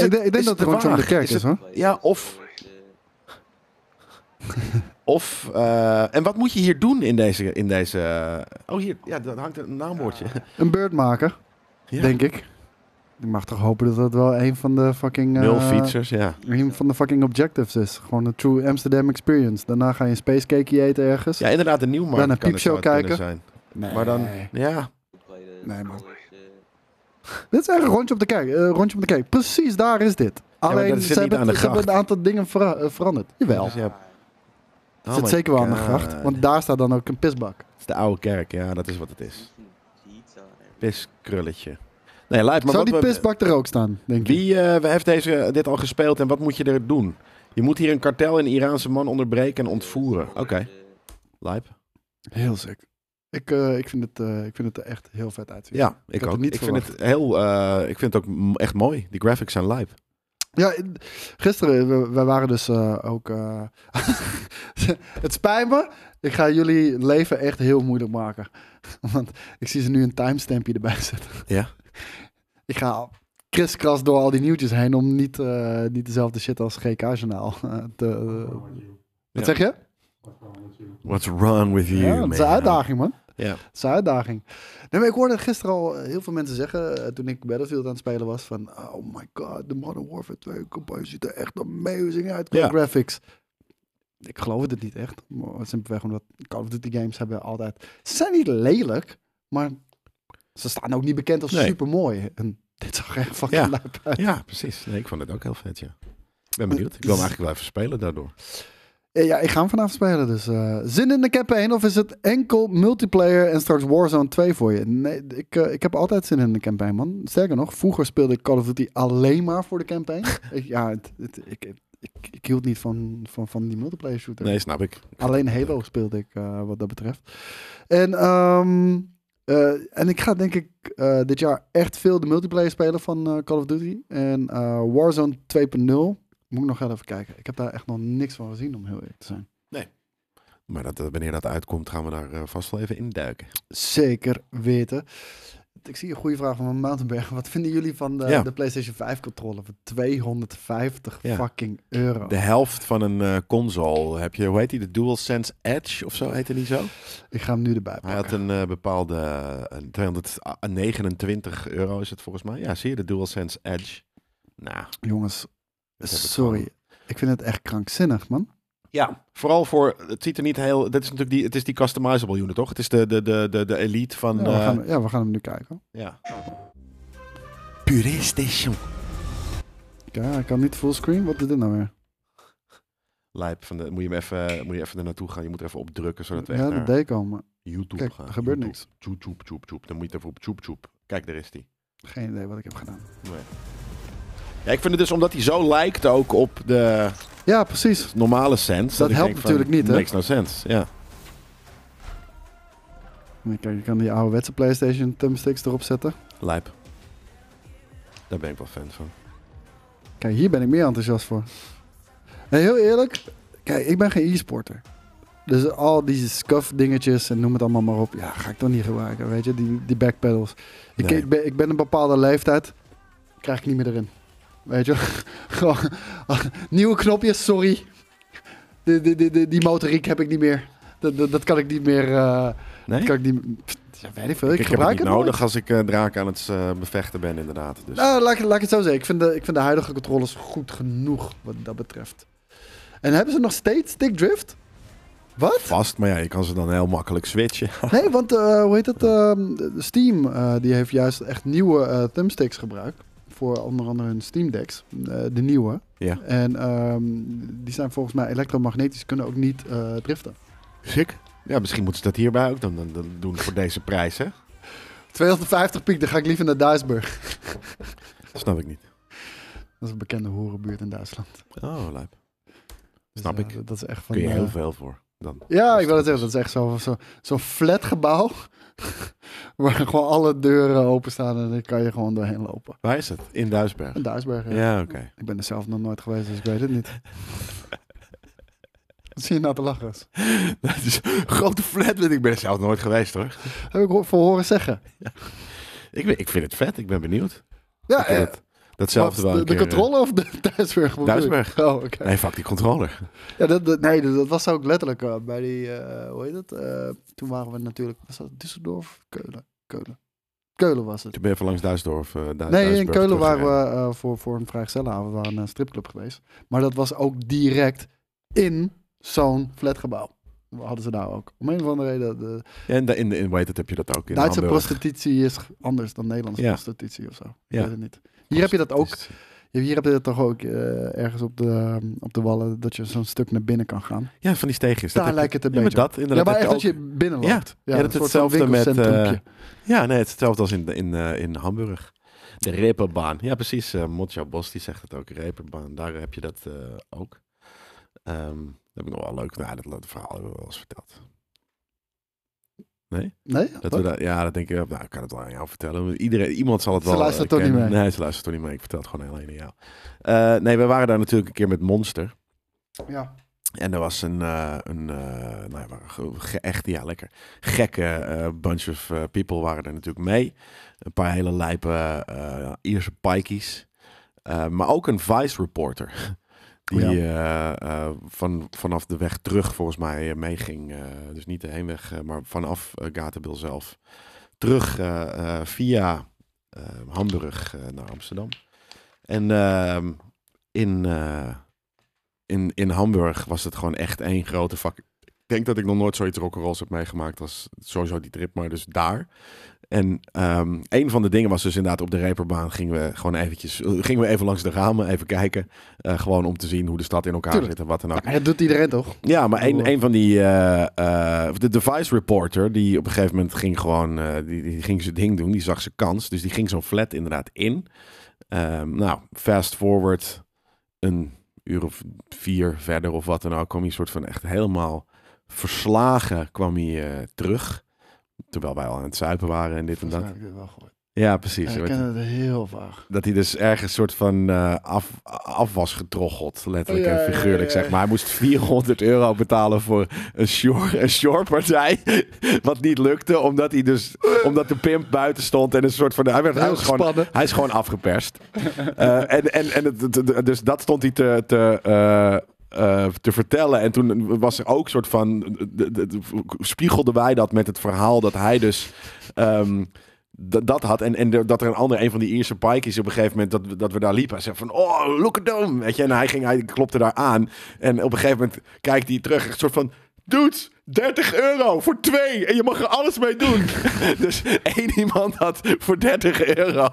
het-
denk- ik denk
is
dat het
het
rondje om de
waar?
kerk is,
Is
hoor.
Ja, of... Of, eh, en wat moet je hier doen in deze... In deze oh, hier, ja, dat hangt een naambordje.
Een beurt maken,
Ja.
denk ik. Ik mag toch hopen dat dat wel een van de fucking... eh,
Nul fietsers, ja.
Een van de fucking objectives is. Gewoon een true Amsterdam experience. Daarna ga je een spacecakeje eten ergens.
Ja, inderdaad, een nieuw markt
Dan een
kan het zou
piepshow
het kunnen
Nee.
zijn. Maar dan, ja,
Nee, man. Dit is echt een rondje op de kerk. eh, rondje op de kerk. Precies daar is dit. Alleen,
dat zit
ze,
niet
hebben,
aan de
ze hebben een
gracht.
aantal dingen vera- eh, veranderd. Jawel.
Dus
Het
ja. Oh
zit
my
zeker wel aan de
God.
gracht. Want daar staat dan ook een pisbak.
Het is de oude kerk, ja, dat is wat het is. Piskrulletje. Nee, live. Maar
Zou die
wat we-
pisbak er ook staan, denk ik?
Wie eh, heeft deze, dit al gespeeld en wat moet je er doen? Je moet hier een kartel in Iraanse man onderbreken en ontvoeren. Oké. Lijp.
Heel sick. Ik, eh, ik, vind het, eh, ik vind het er echt heel vet uitzien.
Ja,
had
ik
het
ook.
niet
ik, vind het heel, eh, ik vind het ook m- echt mooi. Die graphics zijn lijp.
Ja, in- gisteren, we, wij waren dus eh, ook... eh, het spijt me, ik ga jullie leven echt heel moeilijk maken. Want ik zie ze nu een timestampje erbij zetten.
Ja.
Ik ga kriskras door al die nieuwtjes heen om niet, eh, niet dezelfde shit als GK-journaal eh, te...
Ja.
wat zeg je?
What's wrong with you,
Ja, dat is een uitdaging, man.
Ja.
Dat is een uitdaging. Nee, maar ik hoorde het gisteren al eh, heel veel mensen zeggen, eh, toen ik Battlefield aan het spelen was, van oh my god, de Modern Warfare 2 campagne ziet er echt amazing uit qua
Ja.
graphics. Ik geloof het niet echt, maar simpelweg omdat Call of Duty games hebben altijd... Ze zijn niet lelijk, maar ze staan ook niet bekend als
Nee.
super mooi. En dit zag er echt fucking
Ja.
lijp uit.
Ja, precies. Nee, ik vond het ook heel vet, ja. Ik ben benieuwd. Ik wil hem eigenlijk wel even spelen daardoor.
Eh, Ja, ik ga hem vanavond spelen, dus eh, zin in de campaign of is het enkel multiplayer en straks Warzone 2 voor je? Nee, ik, eh, ik heb altijd zin in de campaign, man. Sterker nog, vroeger speelde ik Call of Duty alleen maar voor de campaign. ik, ja, het, het- ik, ik, ik, hield niet van, van, van die multiplayer shooter.
Nee, snap ik.
Alleen Halo speelde ik, eh, wat dat betreft. En, ehm, eh, en ik ga denk ik eh, dit jaar echt veel de multiplayer spelen van eh, Call of Duty. En eh, Warzone 2.0 moet ik nog wel even kijken. Ik heb daar echt nog niks van gezien, om heel eerlijk te zijn.
Maar dat, eh, wanneer dat uitkomt, gaan we daar eh, vast wel even induiken.
Zeker weten. Ik zie een goede vraag van Mountainberg. Wat vinden jullie van de,
Ja.
de PlayStation 5 controller voor 250
Ja.
fucking euro?
De helft van een eh, console heb je, hoe heet die? De DualSense Edge of zo heette die zo?
Ik ga hem nu erbij
Hij
pakken.
had een eh, bepaalde eh, een 229 euro is het volgens mij. Ja, zie je de DualSense Edge? Nou, dat
Jongens,
heb ik
sorry.
gewoon.
Ik vind het echt krankzinnig, man.
Ja, vooral voor. Het ziet er niet heel. Dit is natuurlijk die. Het is die customizable unit, toch? Het is de, de, de, de, de elite van.
Ja,
Ja.
we gaan, ja, we gaan hem nu kijken.
ja. Puree Station.
Ja, ik kan niet fullscreen. Wat is dit nou weer?
Lijp van de. Moet je hem even. Moet je even er naartoe gaan. Je moet er even op drukken zodat we echt
ja,
naar
dat deed ik al, maar
YouTube
Kijk,
gaan.
er gebeurt
YouTube.
niks.
Tjoep, tjoep, tjoep, tjoep. Dan moet je het even op tjoep, tjoep. Kijk, daar is die.
geen idee wat ik heb gedaan.
Ja, ik vind het dus omdat hij zo lijkt ook op de
Ja, precies.
normale sense.
Dat
ik
helpt
denk van,
natuurlijk niet, hè?
Makes no sense. Ja.
Nee, Kijk, je kan die ouderwetse PlayStation thumbsticks erop zetten.
Lijp. Daar ben ik wel fan van.
Kijk, hier ben ik meer enthousiast voor. En heel eerlijk, kijk, ik ben geen e-sporter. Dus al die scuff dingetjes en noem het allemaal maar op. Ja, ga ik toch niet gebruiken, weet je, die, die backpedals. Ik,
Nee.
ik, ben, ik ben een bepaalde leeftijd, krijg ik niet meer erin. Weet je, gewoon nieuwe knopjes, sorry. Die, die, die, die, die motoriek heb ik niet meer. Dat, dat, dat kan ik niet meer. eh,
Nee?
kan ik niet, pff, ja, weet ik veel.
ik heb
Ik,
het
gebruik
niet
het nooit.
nodig als ik eh draak aan het eh, bevechten ben, inderdaad. Dus.
Nou, laat ik, laat ik het zo zeggen. Ik vind, de, ik vind de huidige controllers goed genoeg wat dat betreft. En hebben ze nog steeds stickdrift? Wat?
vast, maar ja, je kan ze dan heel makkelijk switchen.
Nee, want eh, hoe heet het? ehm, de- de Steam eh, die heeft juist echt nieuwe eh, thumbsticks gebruikt. Voor onder andere hun Steam Decks. eh, de nieuwe.
Ja.
En ehm, die zijn volgens mij elektromagnetisch, kunnen ook niet eh, driften.
Sick. Ja, misschien moeten ze dat hierbij ook dan, dan, dan doen voor deze prijs, hè?
250 piek, dan ga ik liever naar Duisburg.
Snap ik niet.
Dat is een bekende horenbuurt in Duisland.
Oh, lijp.
Dus,
Snap
eh,
ik.
dat- Dat is echt van...
Kun je
eh,
heel veel voor dan.
Ja, ik wil het zeggen. Dat is echt zo'n zo, zo'n flat gebouw. waar gewoon alle deuren openstaan en dan kan je gewoon doorheen lopen.
Waar is het? In Duisburg.
Een Duisberg. Ja.
Ja, oké.
Ik ben er zelf nog nooit geweest, dus ik weet het niet. Wat zie je nou te lachen? Ras?
Dat is een grote flat. want Ik ben er zelf nooit geweest, hoor.
Heb ik ho- voor horen zeggen.
Ik, ben- ik vind het vet. Ik ben benieuwd.
Ja,
Ik
eh,
heb het- datzelfde
wat,
wel
de,
een
de
keer, eh,
controle of de Duisberg? Wat bedoel je?
Duisberg.
Oh, oké.
Nee, fuck die controller.
Ja, dat, dat- nee, dat, dat was ook letterlijk eh, bij die, eh, hoe heet het? Eh, toen waren we natuurlijk, was dat Düsseldorf? Keulen. Keulen. Keulen was het.
Ik ben even langs Duisdorf. eh, Du-
Nee, in
Duisburg
Keulen waren
teruggereden.
we eh, voor, voor een vrijgezellenavond. We waren naar een stripclub geweest. Maar dat was ook direct in zo'n flatgebouw. Hadden ze daar ook. Om een of andere reden. De
Ja, en da- in, in, hoe heet het, heb je dat ook in
eh, Duitse
Hamburg.
prostitutie is anders dan Nederlandse
Ja.
prostitutie of zo. Ik
Ja.
weet het niet. Hier heb je dat ook.
Prostitutie.
Hier heb je dat toch ook eh, ergens op de, op de wallen. Dat je zo'n stuk naar binnen kan gaan.
Ja, van die steegjes.
Daar
heb je-
lijkt het een
Ja, maar
beetje op.
dat
Ja,
inderdaad.
maar
heb
echt dat
ook-
je binnen
Ja,
loopt.
ja, dat
een
is
soort van
hetzelfde met, eh,
winkelcentrumpje.
Ja, nee, het is hetzelfde als in, in, eh, in Hamburg. De reperbaan. Ja, precies. eh Motja Bos die zegt het ook. Reperbaan. Daar heb je dat eh, ook. Ehm, dat heb ik nog wel leuk. Nou, dat, dat verhaal hebben we wel eens verteld.
Nee?
Dat we dat, ja, dat denk ik. Nou, ik kan het wel aan jou vertellen. Want Iedereen, iemand zal het
Ze
wel. eh,
luistert toch niet
kennen.
mee?
Nee, ze luistert toch niet mee. Ik vertel het gewoon alleen aan jou. Eh, nee, we waren daar natuurlijk een keer met Monster. Nou,
Ja.
En er was een, eh, een eh, nou, ja, waren ge- ge- echt, ja, lekker gekke eh, bunch of eh, people waren er natuurlijk mee. Een paar hele lijpe eh, ja, Ierse pikeys. Eh, maar ook een vice reporter. Die eh, eh, van, vanaf de weg terug volgens mij eh, meeging. Eh, dus niet de heenweg, eh, maar vanaf eh, Gatibil zelf. Terug eh, eh, via eh, Hamburg eh, naar Amsterdam. En ehm, in... eh, in, in Hamburg was het gewoon echt één grote vak. Ik denk dat ik nog nooit zoiets rock'n'rolls heb meegemaakt als sowieso die trip, maar dus daar. En ehm een van de dingen was dus inderdaad op de reperbaan gingen we gewoon eventjes, eh, gingen we even langs de ramen, even kijken. Eh, gewoon om te zien hoe de stad in elkaar
Tuurlijk.
zit en wat nou dan ook.
Maar dat doet iedereen toch?
Ja, maar
Door.
een, een van die. eh, eh, de device reporter, die op een gegeven moment ging gewoon. eh, die, die ging zijn ding doen, die zag zijn kans. Dus die ging zo'n flat inderdaad in. Ehm, nou, fast forward een uur of vier verder of wat dan ook. kwam hij een soort van echt helemaal verslagen kwam hij eh, terug. Terwijl wij al aan het zuipen waren en dit en dat.
heb ik dit wel gehoord.
Ja, precies.
Ja, ik
Weet-
ken het heel vaag.
dat hij dus ergens soort van eh, af, af was getroggeld, letterlijk
Ja,
en figuurlijk
ja, ja, ja.
zeg maar. Hij moest 400 euro betalen voor een shore, een shorepartij, wat niet lukte, omdat hij dus, omdat de pimp buiten stond en een soort van, hij werd hij
Heel
was gewoon,
gespannen.
hij is gewoon afgeperst. Eh, en en, en het, het- het- dus dat stond hij te, te, eh, eh, te vertellen. En toen was er ook soort van. de- de- de- spiegelden wij dat met het verhaal dat hij dus. ehm, d- dat had. En, en de- dat er een ander, een van die Ierse pikeys op een gegeven moment, dat, we- dat we daar liepen. Hij zei van, oh, look at them. Weet je, en hij, ging, hij klopte daar aan. En op een gegeven moment kijkt hij terug. Echt soort van, dudes, 30 euro voor twee. En je mag er alles mee doen. dus één iemand had voor 30 euro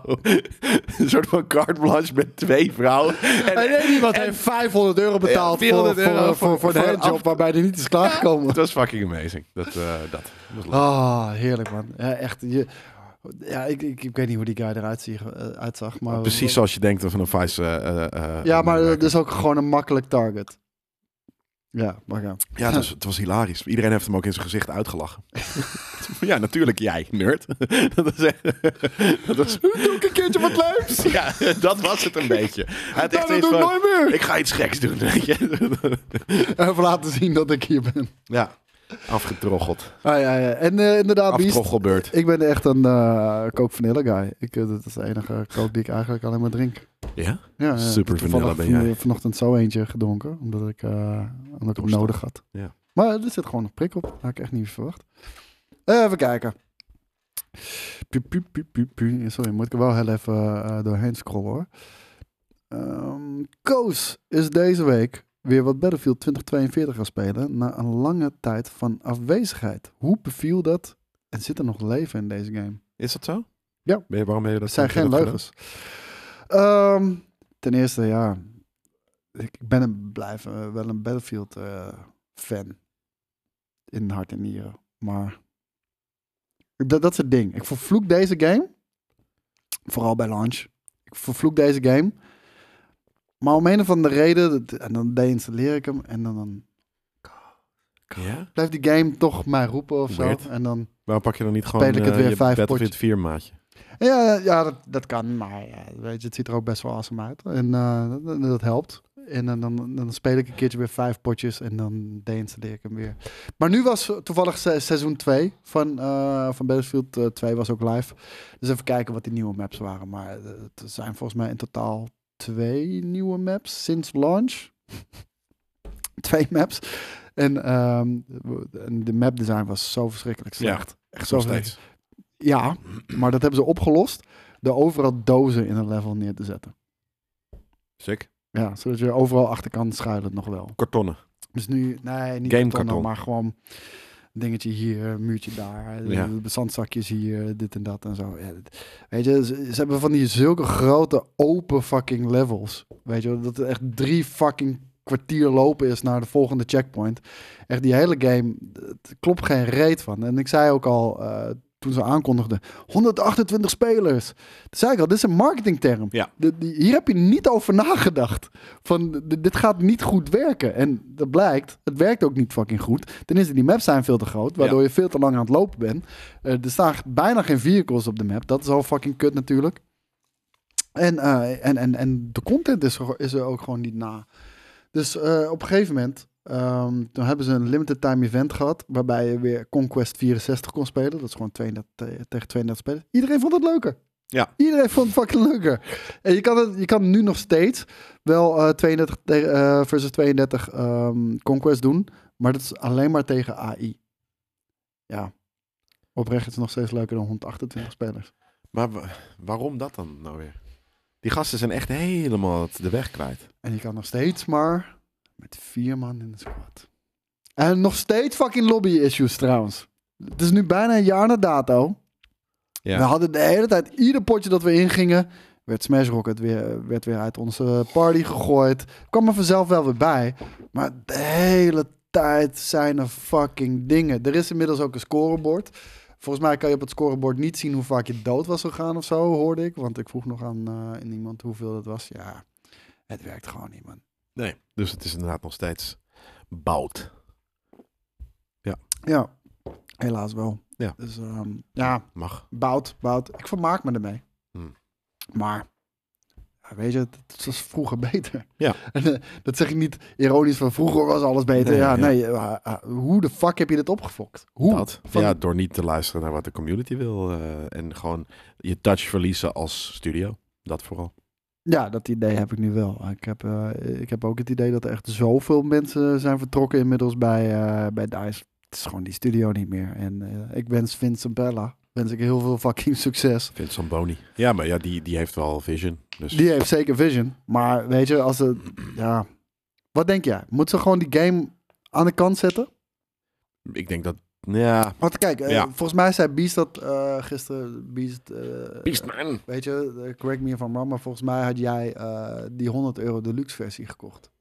een soort van carte blanche met twee vrouwen. En,
En één iemand
en-
heeft 500 euro betaald
Ja, 400
voor, voor,
euro
voor, voor,
voor-
een
voor een
handjob
af-
waarbij hij niet is klaargekomen.
Het was fucking amazing. Dat, eh, dat was leuk.
Ah, heerlijk man. Ja, echt. Je, ja, ik, ik, ik weet niet hoe die guy eruit zie- eh, uitzag. Maar
Precies zoals je denkt van een vice. eh, eh, eh,
Ja, maar
medewerker.
dat is ook gewoon een makkelijk target. Ja, maar ja.
Ja, het was, het was hilarisch. Iedereen heeft hem ook in zijn gezicht uitgelachen. ja, natuurlijk jij, nerd. dat was echt... dat was... Doe ik een keertje wat leuks? ja, dat was het een beetje. Hij had echt
dat
zoiets
doe ik
van,
nooit meer.
Ik ga iets geks doen, weet je.
Even laten zien dat ik hier ben.
ja, afgetroggeld.
Ah, ja, ja. En eh, inderdaad, Beast.
Aftroggelbeurt.
Ik ben echt een eh Coke Vanilla guy. Ik, eh, dat is de enige Coke die ik eigenlijk alleen maar drink.
Ja?
Ja, ja.
Super
Ik heb toevallig
vanilla ben jij.
van- vanochtend zo eentje gedronken, omdat ik, eh, omdat ik hem
Dorst had.
nodig had.
Ja.
Maar er zit gewoon een prik op. Had ik echt niet verwacht. Eh, Even kijken. Pu, pu, pu, pu, pu. Sorry, moet ik er wel heel even eh, doorheen scrollen hoor. Ehm, Koos is deze week weer wat Battlefield 2042 gaan spelen na een lange tijd van afwezigheid. Hoe beviel dat? En zit er nog leven in deze game?
Is dat zo?
Ja.
Ben je, waarom ben je dat
Het zijn
heb je
geen
dat
leugens. Ehm, ten eerste, ja. Ik ben een, blijf eh, wel een Battlefield-fan. in hart en nieren. Maar dat, dat is het ding. Ik vervloek deze game. Vooral bij launch. Ik vervloek deze game. Maar om een of andere reden. dat- en dan deinstalleer ik hem. En dan, dan
gedaan? Ja?
blijft die game toch mij roepen of zo.
Weird.
En dan.
Waarom pak je dan niet gewoon
ik het
eh,
weer
je
vijf
Battlefield
potjes?
4 maatje?
Ja, ja dat, dat kan, maar ja, weet je, het ziet er ook best wel awesome uit. En eh, dat, dat helpt. En dan, dan, dan speel ik een keertje weer vijf potjes en dan deinstalleer ik hem weer. Maar nu was toevallig se- seizoen 2 van, eh, van Battlefield eh, 2 was ook live. Dus even kijken wat die nieuwe maps waren. Maar eh, het zijn volgens mij in totaal twee nieuwe maps sinds launch. twee maps. En ehm, en de mapdesign was zo verschrikkelijk
Ja,
slecht. Echt zo
Nog
verschrikkelijk.
steeds.
Ja, maar dat hebben ze opgelost door overal dozen in een level neer te zetten.
Sick.
Ja, zodat je overal achter kan schuilen nog wel.
Kartonnen.
Dus nu, nee, niet
Game
kartonnen,
karton.
maar gewoon dingetje hier, muurtje daar, eh,
Ja.
zandzakjes hier, dit en dat en zo. Ja, dat- weet je, ze, ze hebben van die zulke grote open fucking levels. Weet je, wel, dat het echt drie fucking kwartier lopen is naar de volgende checkpoint. Echt die hele game, het klopt geen reet van. En ik zei ook al eh, toen ze aankondigden. 128 spelers. Toen zei ik al, dit is een marketingterm.
Ja.
Dit- Hier heb je niet over nagedacht. Van, d- dit gaat niet goed werken. En dat blijkt, het werkt ook niet fucking goed. Ten eerste, die maps zijn veel te groot, waardoor
Ja.
je veel te lang aan het lopen bent. Eh, er staan bijna geen vehicles op de map. Dat is al fucking kut natuurlijk. En, eh, en, en, en de content is er, is er ook gewoon niet na. Dus eh, op een gegeven moment, ehm, toen hebben ze een limited time event gehad, waarbij je weer Conquest 64 kon spelen. Dat is gewoon 32, te- tegen 32 spelen. Iedereen vond het leuker.
Ja.
Iedereen vond het fucking leuker. En Eh, je kan, het, je kan nu nog steeds wel eh, 32 te- eh, versus 32 ehm, Conquest doen, maar dat is alleen maar tegen AI. Ja. Oprecht is het nog steeds leuker dan 128 spelers.
Maar wa- waarom dat dan nou weer? Die gasten zijn echt helemaal het- de weg kwijt.
En je kan nog steeds maar met vier man in de squad. En nog steeds fucking lobby issues trouwens. Het is nu bijna een jaar na dato.
Ja.
We hadden de hele tijd, ieder potje dat we ingingen, werd Smash Rocket weer, werd weer uit onze party gegooid. Kwam er vanzelf wel weer bij. Maar de hele tijd zijn er fucking dingen. Er is inmiddels ook een scorebord. Volgens mij kan je op het scorebord niet zien hoe vaak je dood was gegaan of zo, hoorde ik. Want ik vroeg nog aan eh, in iemand hoeveel dat was. Ja, het werkt gewoon niet, man.
Nee. Dus het is inderdaad nog steeds bout.
Ja, helaas wel.
Ja.
Dus ehm, ja,
Mag.
bout, bout. Ik vermaak me ermee.
Hmm.
Maar, ja, weet je, het- het was vroeger beter.
Ja.
En, eh, dat zeg ik niet ironisch van vroeger was alles beter.
Nee,
ja,
ja.
nee. eh, eh, hoe de fuck heb je dit opgefokt? Hoe?
Dat.
Van-
Ja, door niet te luisteren naar wat de community wil. eh, en gewoon je touch verliezen als studio. Dat vooral.
Ja, dat idee heb ik nu wel. Ik heb, eh, ik heb ook het idee dat er echt zoveel mensen zijn vertrokken inmiddels bij, eh, bij DICE. Het is gewoon die studio niet meer. En eh, ik wens Vincent Bella, wens ik heel veel fucking succes.
Vincent Boni. Ja, maar ja, die, die heeft wel vision. Dus
Die heeft zeker vision. Maar weet je, als het. Ja. Wat denk jij? Moeten ze gewoon die game aan de kant zetten?
ik denk dat... Ja.
Want kijk, eh,
Ja.
volgens mij zei Beast dat eh, gisteren. Beast. eh,
Beastman.
Weet je, eh, correct me if I'm wrong, maar volgens mij had jij eh, die 100 euro deluxe versie gekocht.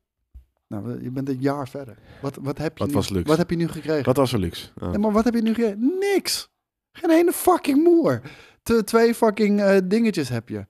Nou, je bent een jaar verder. Wat, wat, heb, je
Wat
nu,
was luxe?
wat heb je nu gekregen?
Wat was er luxe? Ah.
Nee, maar wat heb je nu gekregen? Niks. Geen ene fucking moer. Te- twee fucking eh, dingetjes heb je.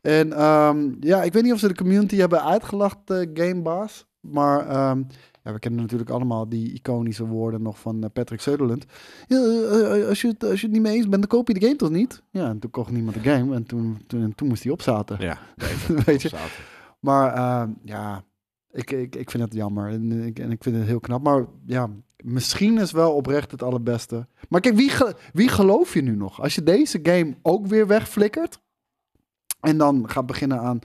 En ehm, ja, ik weet niet of ze de community hebben uitgelacht, eh Gamebaas. Maar ehm, ja, we kennen natuurlijk allemaal die iconische woorden nog van eh, Patrick Sutherland. Ja, eh, eh, als, je het, als je het niet mee eens bent, dan koop je de game toch niet? Ja, en toen kocht niemand de game en toen, toen, toen moest hij opzaten.
Ja.
weet je?
Zaten.
Maar eh, ja, ik, ik, ik vind het jammer. En ik, en ik vind het heel knap. Maar ja, misschien is wel oprecht het allerbeste. Maar kijk, wie, ge- wie geloof je nu nog? Als je deze game ook weer wegflikkert. En dan gaat beginnen aan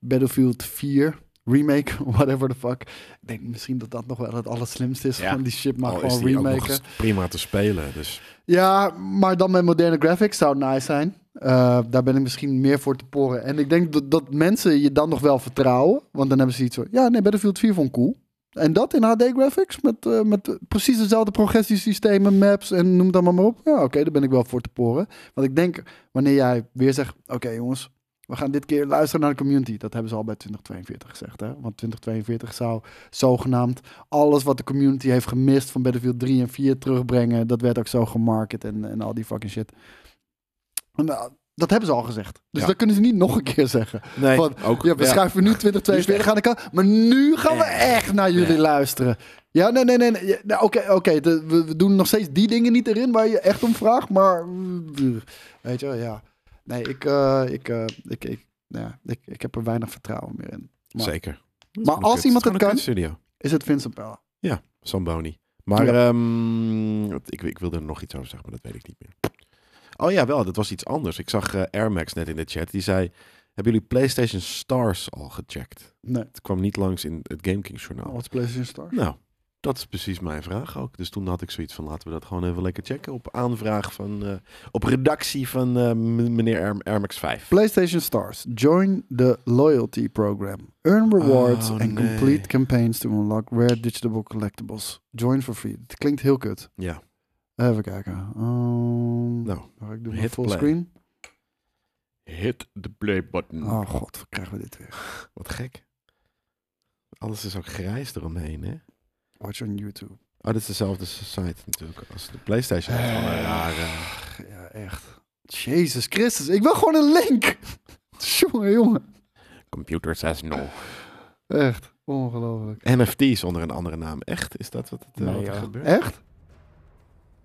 Battlefield 4. Remake, whatever the fuck. Ik denk misschien dat dat nog wel het allerslimste is
Ja.
van die shit, maar
Al is
gewoon
die ook nog
remaken.
eens prima te spelen. Dus
Ja, maar dan met moderne graphics zou nice zijn. Eh, daar ben ik misschien meer voor te poren. En ik denk dat, dat mensen je dan nog wel vertrouwen. Want dan hebben ze iets van... Ja, nee, Battlefield 4 vond ik cool. En dat in HD graphics. Met, eh, met precies dezelfde progressiesystemen, maps en noem het allemaal maar op. Ja, oké, daar ben ik wel voor te poren. Want ik denk, wanneer jij weer zegt... Oké jongens, we gaan dit keer luisteren naar de community. Dat hebben ze al bij 2042 gezegd. Hè? Want 2042 zou zogenaamd alles wat de community heeft gemist van Battlefield 3 en 4 terugbrengen. Dat werd ook zo gemarket en, en al die fucking shit. En, nou, dat hebben ze al gezegd. Dus
Ja.
dat kunnen ze niet nog een keer zeggen.
nee,
Van,
ook,
Ja, we
ja.
schuiven nu 2042 aan de kant. Maar nu gaan we echt naar jullie
Ja.
luisteren. Ja, nee, nee, nee. nee. Ja, nou, Oké, oké. de- we, we doen nog steeds die dingen niet erin waar je echt om vraagt. Maar, mm, weet je wel, ja. Nee, ik, eh, ik, eh, ik, ik, ja, ik, ik heb er weinig vertrouwen meer in. maar-
Zeker.
Maar als iemand het kan-
Studio.
Is het Vincent Pella?
Samboni. Maar
Ja.
ehm, wat- ik, ik wilde er nog iets over zeggen, maar dat weet ik niet meer. Oh ja, wel, dat was iets anders. Ik zag eh, Air Max net in de chat. Die zei, hebben jullie PlayStation Stars al gecheckt?
Nee.
Het kwam niet langs in het Game Kings journaal.
Oh, Wat is PlayStation Star?
Nou, dat is precies mijn vraag ook. Dus toen had ik zoiets van, laten we dat gewoon even lekker checken. Op aanvraag van, eh, op redactie van eh, m- meneer Air, Air Max 5.
PlayStation Stars. Join the loyalty program. Earn rewards
Oh,
and
nee.
complete campaigns to unlock rare digital collectibles. Join for free. Het klinkt heel kut.
Ja,
Even kijken. Ehm,
Nou,
mag ik doe maar
hit
full
play.
screen.
hit the play button.
Oh god, krijgen we dit weer.
Wat gek. Alles is ook grijs eromheen, hè?
Watch on YouTube.
Oh, dit is dezelfde site natuurlijk als de PlayStation. Dat is wel een rare-
Ja, echt. Jezus Christus, ik wil gewoon een link. jongen, jongen.
Computers as no.
Echt, ongelooflijk.
NFT's onder een andere naam. Echt? Is dat wat het, eh,
Nee,
wat er
ja.
gebeurt?
Echt?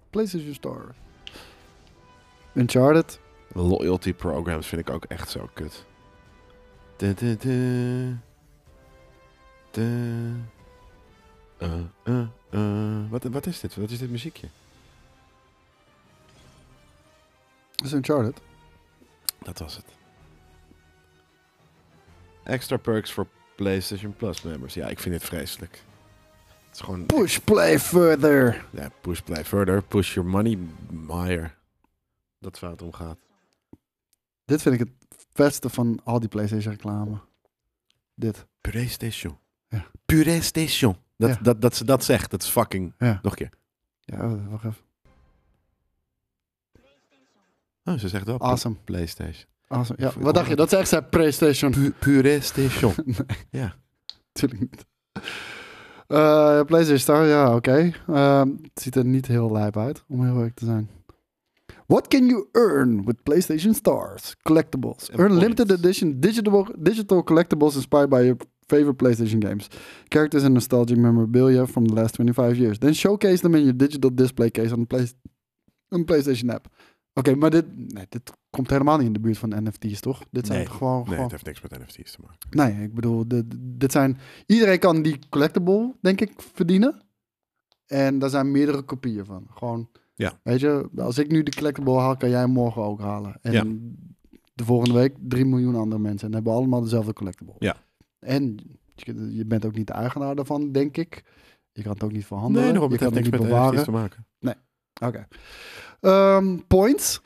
PlayStation Store. Uncharted.
Loyalty programs vind ik ook echt zo kut. Da, da, da. Da. Eh, eh, eh. Wat, wat is dit? Wat is dit muziekje?
Dat is Uncharted.
Dat was het. Extra perks voor PlayStation Plus members. Ja, ik vind dit vreselijk. Het is gewoon...
Push play further.
Ja, push play further. Push your money higher. Dat is waar het om gaat.
Dit vind ik het beste van al die PlayStation reclame. Dit.
PlayStation.
Ja.
PlayStation. Dat,
Ja.
dat, dat ze dat zegt, dat is fucking...
Ja.
Nog een keer.
Ja, wacht even.
Oh, ze zegt wel pu-
Awesome.
PlayStation.
awesome.
Ik
Ja,
hoor
wat dacht je?
dat.
Dat ze echt zei PlayStation.
PlayStation.
Natuurlijk niet. Eh, PlayStation Star, ja, oké. Ehm, het ziet er niet heel lijp uit, om heel eerlijk te zijn. What can you earn with PlayStation Stars? Collectibles.
En
Earn limited
points.
edition digital, digital collectibles inspired by your favorite PlayStation games. Characters and nostalgic memorabilia from the last 25 years. Then showcase them in your digital display case on the play, een PlayStation app. Oké, maar dit, nee, dit komt helemaal niet in de buurt van NFT's, toch? Dit zijn
Nee,
gewoon...
Nee,
gewoon
het heeft niks met NFT's te maken.
Nee, ik bedoel, dit, dit zijn. Iedereen kan die collectible, denk ik, verdienen. En daar zijn meerdere kopieën van. Gewoon.
Ja.
Weet je, als ik nu de collectible haal, kan jij hem morgen ook halen. En
Ja.
de volgende week 3 miljoen andere mensen. En hebben allemaal dezelfde collectible.
Ja.
En je- je bent ook niet de eigenaar daarvan, denk ik. Je kan het ook niet verhandelen.
daarom,
je
het
kan
heeft
het
niks
niet
met
bewaren.
NFT's te maken.
Oké. Ehm, points.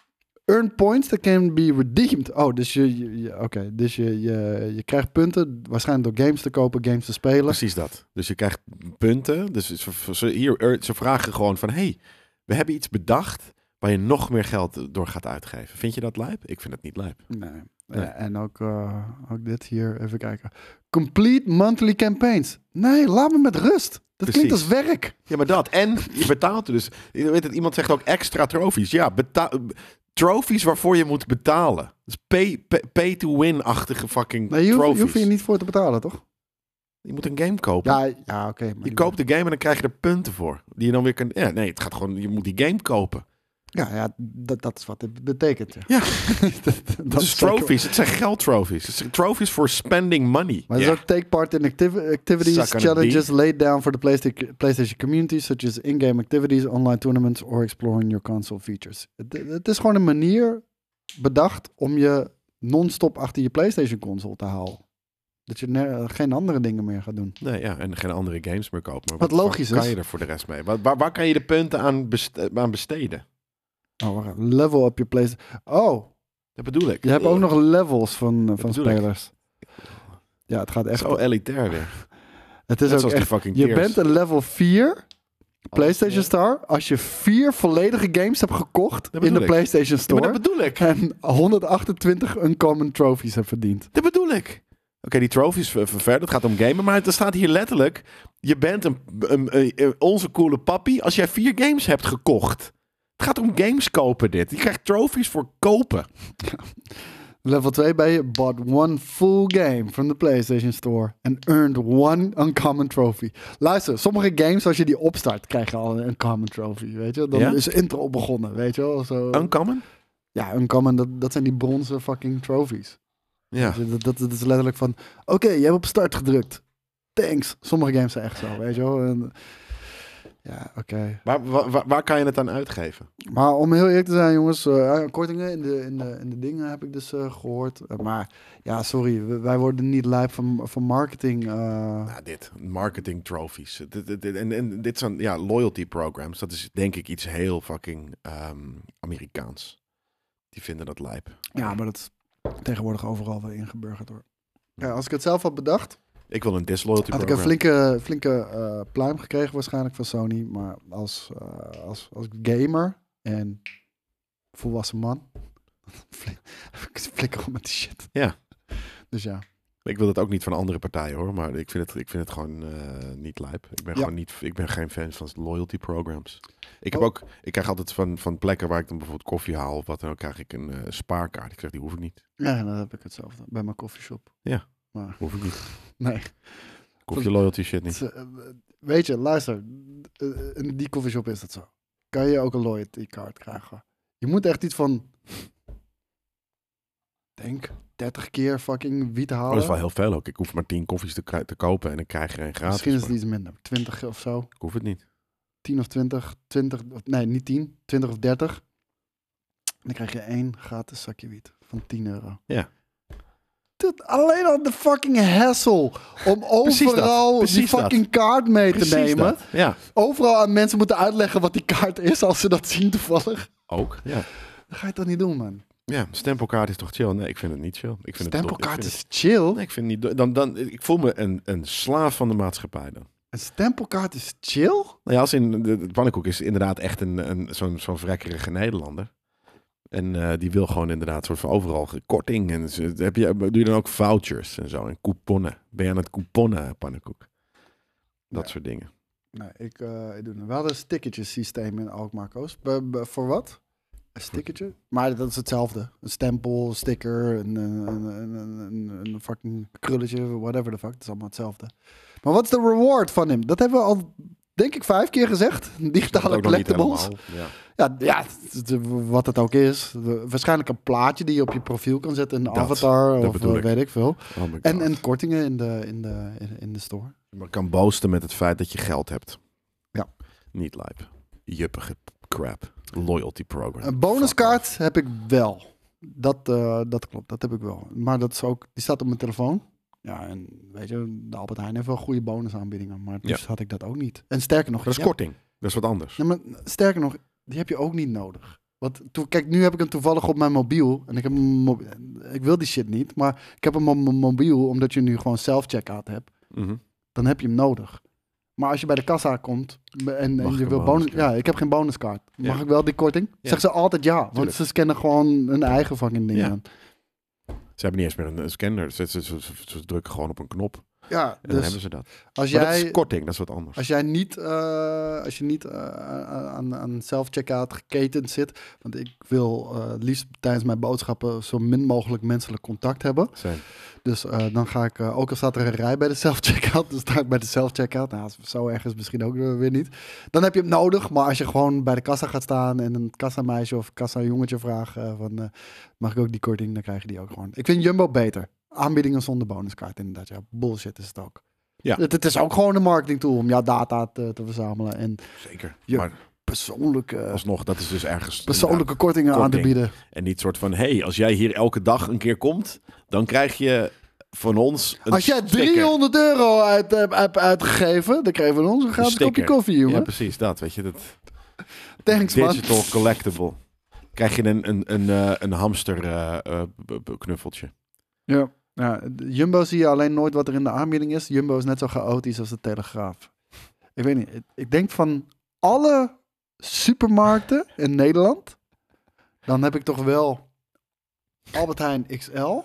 Earn points that can be redeemed. Oh, dus je, je, je- oké, dus je, je, je krijgt punten waarschijnlijk door games te kopen, games te spelen.
Precies dat. Dus je krijgt punten. Dus ze, ze- hier, er- ze vragen gewoon van... hey, we hebben iets bedacht waar je nog meer geld door gaat uitgeven. Vind je dat lijp? Ik vind dat niet lijp.
Nee.
Nee.
Ja, en ook, eh, ook dit hier, even kijken. Complete monthly campaigns. Nee, laat me met rust. Dat klinkt als
Precies.
werk.
Ja, maar dat. En je betaalt er dus... Je weet het, iemand zegt ook extra trofies. Ja, beta- trofies waarvoor je moet betalen. Dus pay, pay, pay to win-achtige fucking
Nee, je hoeft, je
trofies.
hoeft hier niet voor te betalen, toch?
Je moet een game kopen.
Ja, ja oké. maar
Je
die-
koopt de game en dan krijg je er punten voor. Die je dan weer kan... Ja, nee, het gaat gewoon... Je moet die game kopen.
Ja, ja dat, dat is wat het betekent. Ja.
Ja.
dat, dat
Dat is
is zeker-
trophies. Het zijn geldtrophies. Het zijn trophies for spending money.
Maar het
Ja.
is ook take part in activi- activities,
Suck on a
challenges laid down for the PlayStation, PlayStation community, such as in-game activities, online tournaments or exploring your console features. Het, het is gewoon een manier bedacht om je non-stop achter je PlayStation console te houden. Dat je ne- geen andere dingen meer gaat doen.
Nee, ja, en geen andere games meer kopen. Maar
Wat logisch
waar
is.
kan je er voor de rest mee? Waar, waar, waar kan je de punten aan, best- aan besteden?
Oh, wacht even. level up je PlayStation. Oh,
Dat bedoel ik. Eh,
je hebt ook nog levels van, eh, van
bedoel ik.
spelers. Ja, het gaat echt.
Zo elitair weer.
het is
Net
ook
zoals die
echt.
fucking
Je
Gears. Oh,
bent een level 4 PlayStation
Ja,
Star, als je vier volledige games hebt gekocht in de
bedoel ik.
PlayStation
maar
Store
dat bedoel ik.
en 128 uncommon trophies hebt verdiend.
Dat bedoel ik. Oké, die trophies eh, ver- ver- verder. Het gaat om gamen. Maar er staat hier letterlijk... Je bent een, een- een- een- onze coole papi als jij vier games hebt gekocht. Het gaat om games kopen dit. Je krijgt trophies voor kopen.
Level 2 ben je bought one full game from the PlayStation Store and earned one uncommon trophy. Luister, sommige games als je die opstart krijg je al een uncommon trophy, weet je? Dan
Ja?
is de intro begonnen, weet je wel? Zo.
Uncommon?
ja, uncommon, dat, dat zijn die bronzen fucking trophies.
Ja.
Dus Dat, dat, dat is letterlijk van, oké, je hebt op start gedrukt. Thanks. Sommige games zijn echt zo, weet je wel. En- ja, oké.
Waar, waar, waar- waar kan je het aan uitgeven?
Maar om heel eerlijk te zijn, jongens, eh, ja, kortingen in de, in, de, in de dingen heb ik dus eh, gehoord. Eh, maar ja, sorry, w- wij worden niet lijp van, van marketing. eh.
Nou, dit. Marketing trophies. Dit, dit- dit- en, en dit zijn ja, loyalty programs. Dat is denk ik iets heel fucking ehm, Amerikaans. Die vinden dat lijp.
ja, maar dat is tegenwoordig overal wel ingeburgerd hoor. Ja, als ik het zelf had bedacht,
Ik wil een disloyalty
had ik
program.
een flinke, flinke eh, pluim gekregen waarschijnlijk van Sony. Maar als, eh, als, als gamer en volwassen man, flink- heb ik het flikker om met die shit.
Ja.
Dus ja,
Ik wil dat ook niet van andere partijen hoor, maar ik vind het, ik vind het gewoon eh, niet lijp. Ik ben
Ja.
gewoon niet, ik ben geen fan van loyalty programs. Ik heb
Oh.
ook, ik krijg altijd van, van plekken waar ik dan bijvoorbeeld koffie haal of wat dan ook, krijg ik een eh, spaarkaart. Ik zeg, die hoef ik niet.
Ja, nou, dan heb ik hetzelfde. Bij mijn coffeeshop.
Hoef ik niet.
Nee.
Koffie loyalty shit niet.
Het is, eh, Weet je, luister. eh, In die coffeeshop is dat zo. Kan je ook een loyalty card krijgen. Je moet echt iets van... Denk, 30 keer fucking wiet
Oh,
halen.
dat is wel heel veel ook. Ik hoef maar tien koffies te, kri- te kopen en dan krijg je er een gratis.
Misschien is het
maar
iets minder. 20 of zo.
Ik hoef het niet.
10 of 20. 20 of- nee, niet 10. 20 of 30. En dan krijg je één gratis zakje wiet van 10 euro.
Ja.
Dude, alleen al de fucking hassle om
Precies dat.
overal die
Precies dat.
fucking kaart mee te nemen.
dat. Ja.
Overal aan mensen moeten uitleggen wat die kaart is als ze dat zien toevallig.
Ook. Ja.
Dan ga je dat niet doen, man.
Ja, stempelkaart is toch chill? Nee, ik vind het niet chill. Ik vind het dom. Ik vind
Stempelkaart
het-
is chill.
Nee, ik vind het niet. do- Dan, dan, ik voel me een, een slaaf van de maatschappij dan.
Een stempelkaart is chill?
Nou ja, als in de, de pannenkoek is inderdaad echt een, een, zo'n, zo'n vrekkerige Nederlander. En eh, die wil gewoon inderdaad soort van overal ge- korting. En ze- heb je, doe je dan ook vouchers en zo en couponnen? Ben je aan het couponnen, pannenkoek? Dat
Ja.
soort dingen.
Nee, ik, eh, ik doe het. We hadden een stickertjesysteem in Alkmaar Koos. Be- be- voor wat? Een stickertje? Maar dat is hetzelfde. Een stempel, een sticker, een, een, een, een, een- een fucking krulletje, whatever the fuck. Het is allemaal hetzelfde. Maar wat is de reward van hem? Dat hebben we al, denk ik, vijf keer gezegd.
Dat
Digitale
ook nog niet
collectibles.
helemaal, Ja.
Ja, ja, het- het- wat het ook is. Waarschijnlijk een plaatje die je op je profiel kan zetten. Een
Dat-
avatar
dat
of
bedoel
eh,
ik.
weet ik veel.
Oh my
En,
God.
en kortingen in de, in, de, in- in de store.
Je maar kan boosten met het feit dat je geld hebt.
Ja.
Niet lijp. Juppige crap. Loyalty program.
Een bonuskaart heb ik wel. Dat, eh, dat klopt, dat heb ik wel. Maar dat is ook, die staat op mijn telefoon. Ja, en weet je, de Albert Heijn heeft wel goede bonusaanbiedingen. Maar dus had ik dat ook niet. En sterker nog,
Dat is
ja,
korting. Dat is wat anders.
ja, maar sterker nog, die heb je ook niet nodig. Want toen, kijk, nu heb ik hem toevallig op mijn mobiel. En ik, heb hem mo- ik wil die shit niet. Maar ik heb hem op mijn mobiel, omdat je nu gewoon self-checkout hebt.
Mhm.
Dan heb je hem nodig. Maar als je bij de kassa komt en,
Mag
en
ik
je
een
wil bonus...
bonuskaart?
Ja, ik heb geen bonuskaart. Mag
Ja.
ik wel die korting?
Ja.
Zeg ze altijd ja. Want
Tuurlijk.
ze scannen gewoon hun eigen fucking ding
Ja.
aan.
Ze hebben niet eens meer een, een scanner. Ze, ze, ze- ze- ze drukken gewoon op een knop. En
Ja,
dan
dus
hebben ze dat.
als
Maar dat
jij,
is korting. Dat is wat anders.
als jij niet, eh, als je niet eh, aan, aan self-checkout geketend zit... Want ik wil eh, het liefst tijdens mijn boodschappen zo min mogelijk menselijk contact hebben.
Zijn.
Dus eh, dan ga ik, eh, ook al staat er een rij bij de self-checkout, dan sta ik bij de self-checkout. Nou, zo erg is het misschien ook eh, weer niet. Dan heb je hem nodig, maar als je gewoon bij de kassa gaat staan en een kassameisje of kassa-jongetje vraagt eh, van, eh, mag ik ook die korting, dan krijg je die ook gewoon. Ik vind Jumbo beter. Aanbiedingen zonder bonuskaart inderdaad, ja. Bullshit is het ook.
Ja.
Het, het is ook gewoon een marketing tool om jouw data te, te verzamelen en
Zeker.
Ja.
Maar
persoonlijke,
alsnog, dat is dus ergens...
persoonlijke kortingen aan te
korting.
bieden.
inderdaad. En niet soort van... Hé, hey, als jij hier elke dag een keer komt... Dan krijg je van ons een
Als jij
sticker.
300 euro uit, hebt hebt uitgegeven, dan krijgen we ons een gratis kopje
sticker.
koffie, jongen.
Ja, precies. Dat, weet je. Dat,
Thanks, man.
Digital collectible. Krijg je een, een, een, eh, een hamster eh, eh, b- b- knuffeltje.
Ja. ja, de- Jumbo zie je alleen nooit wat er in de aanbieding is. Jumbo is net zo chaotisch als de Telegraaf. Ik weet niet, ik- ik denk van alle supermarkten in Nederland, dan heb ik toch wel Albert Heijn XL.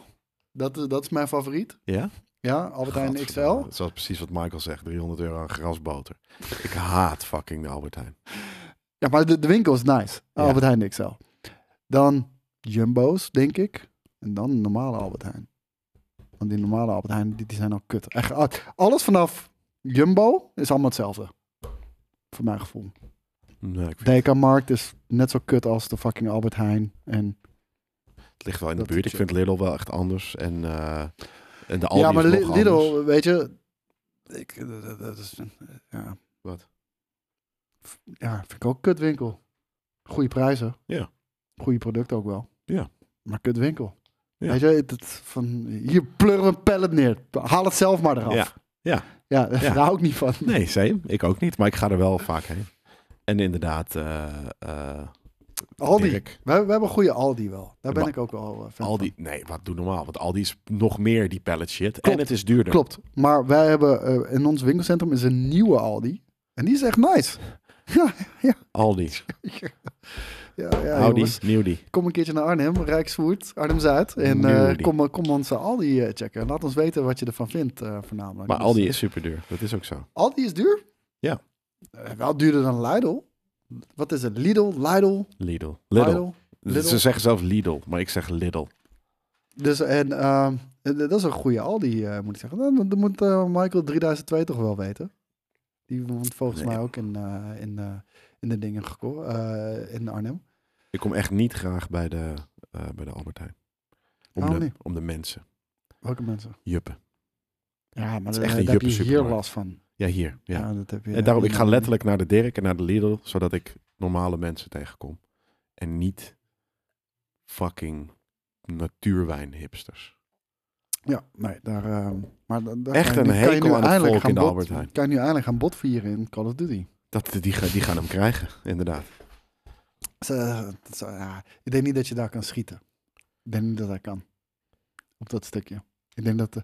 Dat is, dat is mijn favoriet.
Ja?
Ja, Albert Heijn XL.
Gadverdamme. Dat is precies wat Michael zegt. 300 euro aan grasboter. Ik haat fucking de Albert Heijn.
Ja, maar de, de winkel is nice.
Ja.
Albert Heijn XL. Dan Jumbo's, denk ik. En dan een normale Albert Heijn. Want die normale Albert Heijn, die, die zijn al kut. Echt, ah, alles vanaf Jumbo is allemaal hetzelfde. Voor mijn gevoel.
Nou, ik vind,
Dekamarkt is net zo kut als de fucking Albert Heijn. En,
het ligt wel in de
dat
buurt. Ik
is-
vind Lidl wel echt anders. En, eh, en de Aldi
ja, maar
is
Li-
nog
Lidl,
anders.
weet je... Ik, eh, dat, dat is, ja.
Wat?
Ja, vind ik ook een kutwinkel. Goede prijzen.
Ja.
Goede producten ook wel.
Ja.
Maar kutwinkel.
Ja.
Weet je, het, het van, hier pleuren we een pallet neer. Haal het zelf maar eraf.
Ja. Ja.
Ja, daar hou ik niet van.
Nee, same. Ik ook niet. Maar ik ga er wel vaak heen. En inderdaad... eh eh
Aldi.
Dirk.
We, we hebben een goede Aldi wel. Daar ben
Maar-
ik ook wel eh, fan
Aldi, nee, wat doe normaal? Want Aldi is nog meer die pallet shit.
Klopt.
En het is duurder.
van. Klopt. Maar wij hebben eh, in ons winkelcentrum is een nieuwe Aldi. En die is echt nice. Ja, ja.
Aldi.
ja, ja
Audi.
jongens.
Nieuwdi.
Kom een keertje naar Arnhem, Rijksvoert, Arnhem-Zuid. En eh,
Newly.
kom, kom onze Aldi eh, checken. Laat ons weten wat je ervan vindt, eh, voornamelijk.
Maar
Dus-
Aldi is super duur. Dat is ook zo.
Aldi is duur?
Ja.
Eh, wel duurder dan Lidl. Wat is het? Lidl? Lidl?
Lidl. Lidl.
Lidl.
Ze zeggen zelf Lidl, maar ik zeg Lidl.
Dus en ehm, eh, dat is een goede Aldi, eh, moet ik zeggen. Dan, dan moet eh, Michael 3002 toch wel weten. Die woont volgens
Nee.
mij ook in, eh, in, eh, in de dingen geko- eh, in Arnhem.
Ik kom echt niet graag bij de, eh, bij de Albert Heijn. Om,
Waarom
de,
niet?
om de mensen.
Welke mensen?
Juppen.
Ja, maar
is
daar
echt
daar
een
heb
juppe
je hier
supermarkt.
last van.
Ja, hier. Ja.
Ja. dat heb je,
en daarom,
heb
ik
je
ga
nog-
letterlijk naar de Dirk en naar de Lidl, zodat ik normale mensen tegenkom. En niet fucking natuurwijnhipsters.
Ja, nee, daar... ehm, maar da- daar
Echt
kan je
een
nu- kan je
hekel
nu
aan het
eindelijk
volk
gaan
in de
bot-
Albert Heijn.
Kan je nu eindelijk gaan botvieren in Call of Duty?
Dat, die, gaan- die gaan hem krijgen, inderdaad.
Ze- ze- ja, ik denk niet dat je daar kan schieten. Ik denk niet dat dat kan. Op dat stukje. Ik denk, dat de,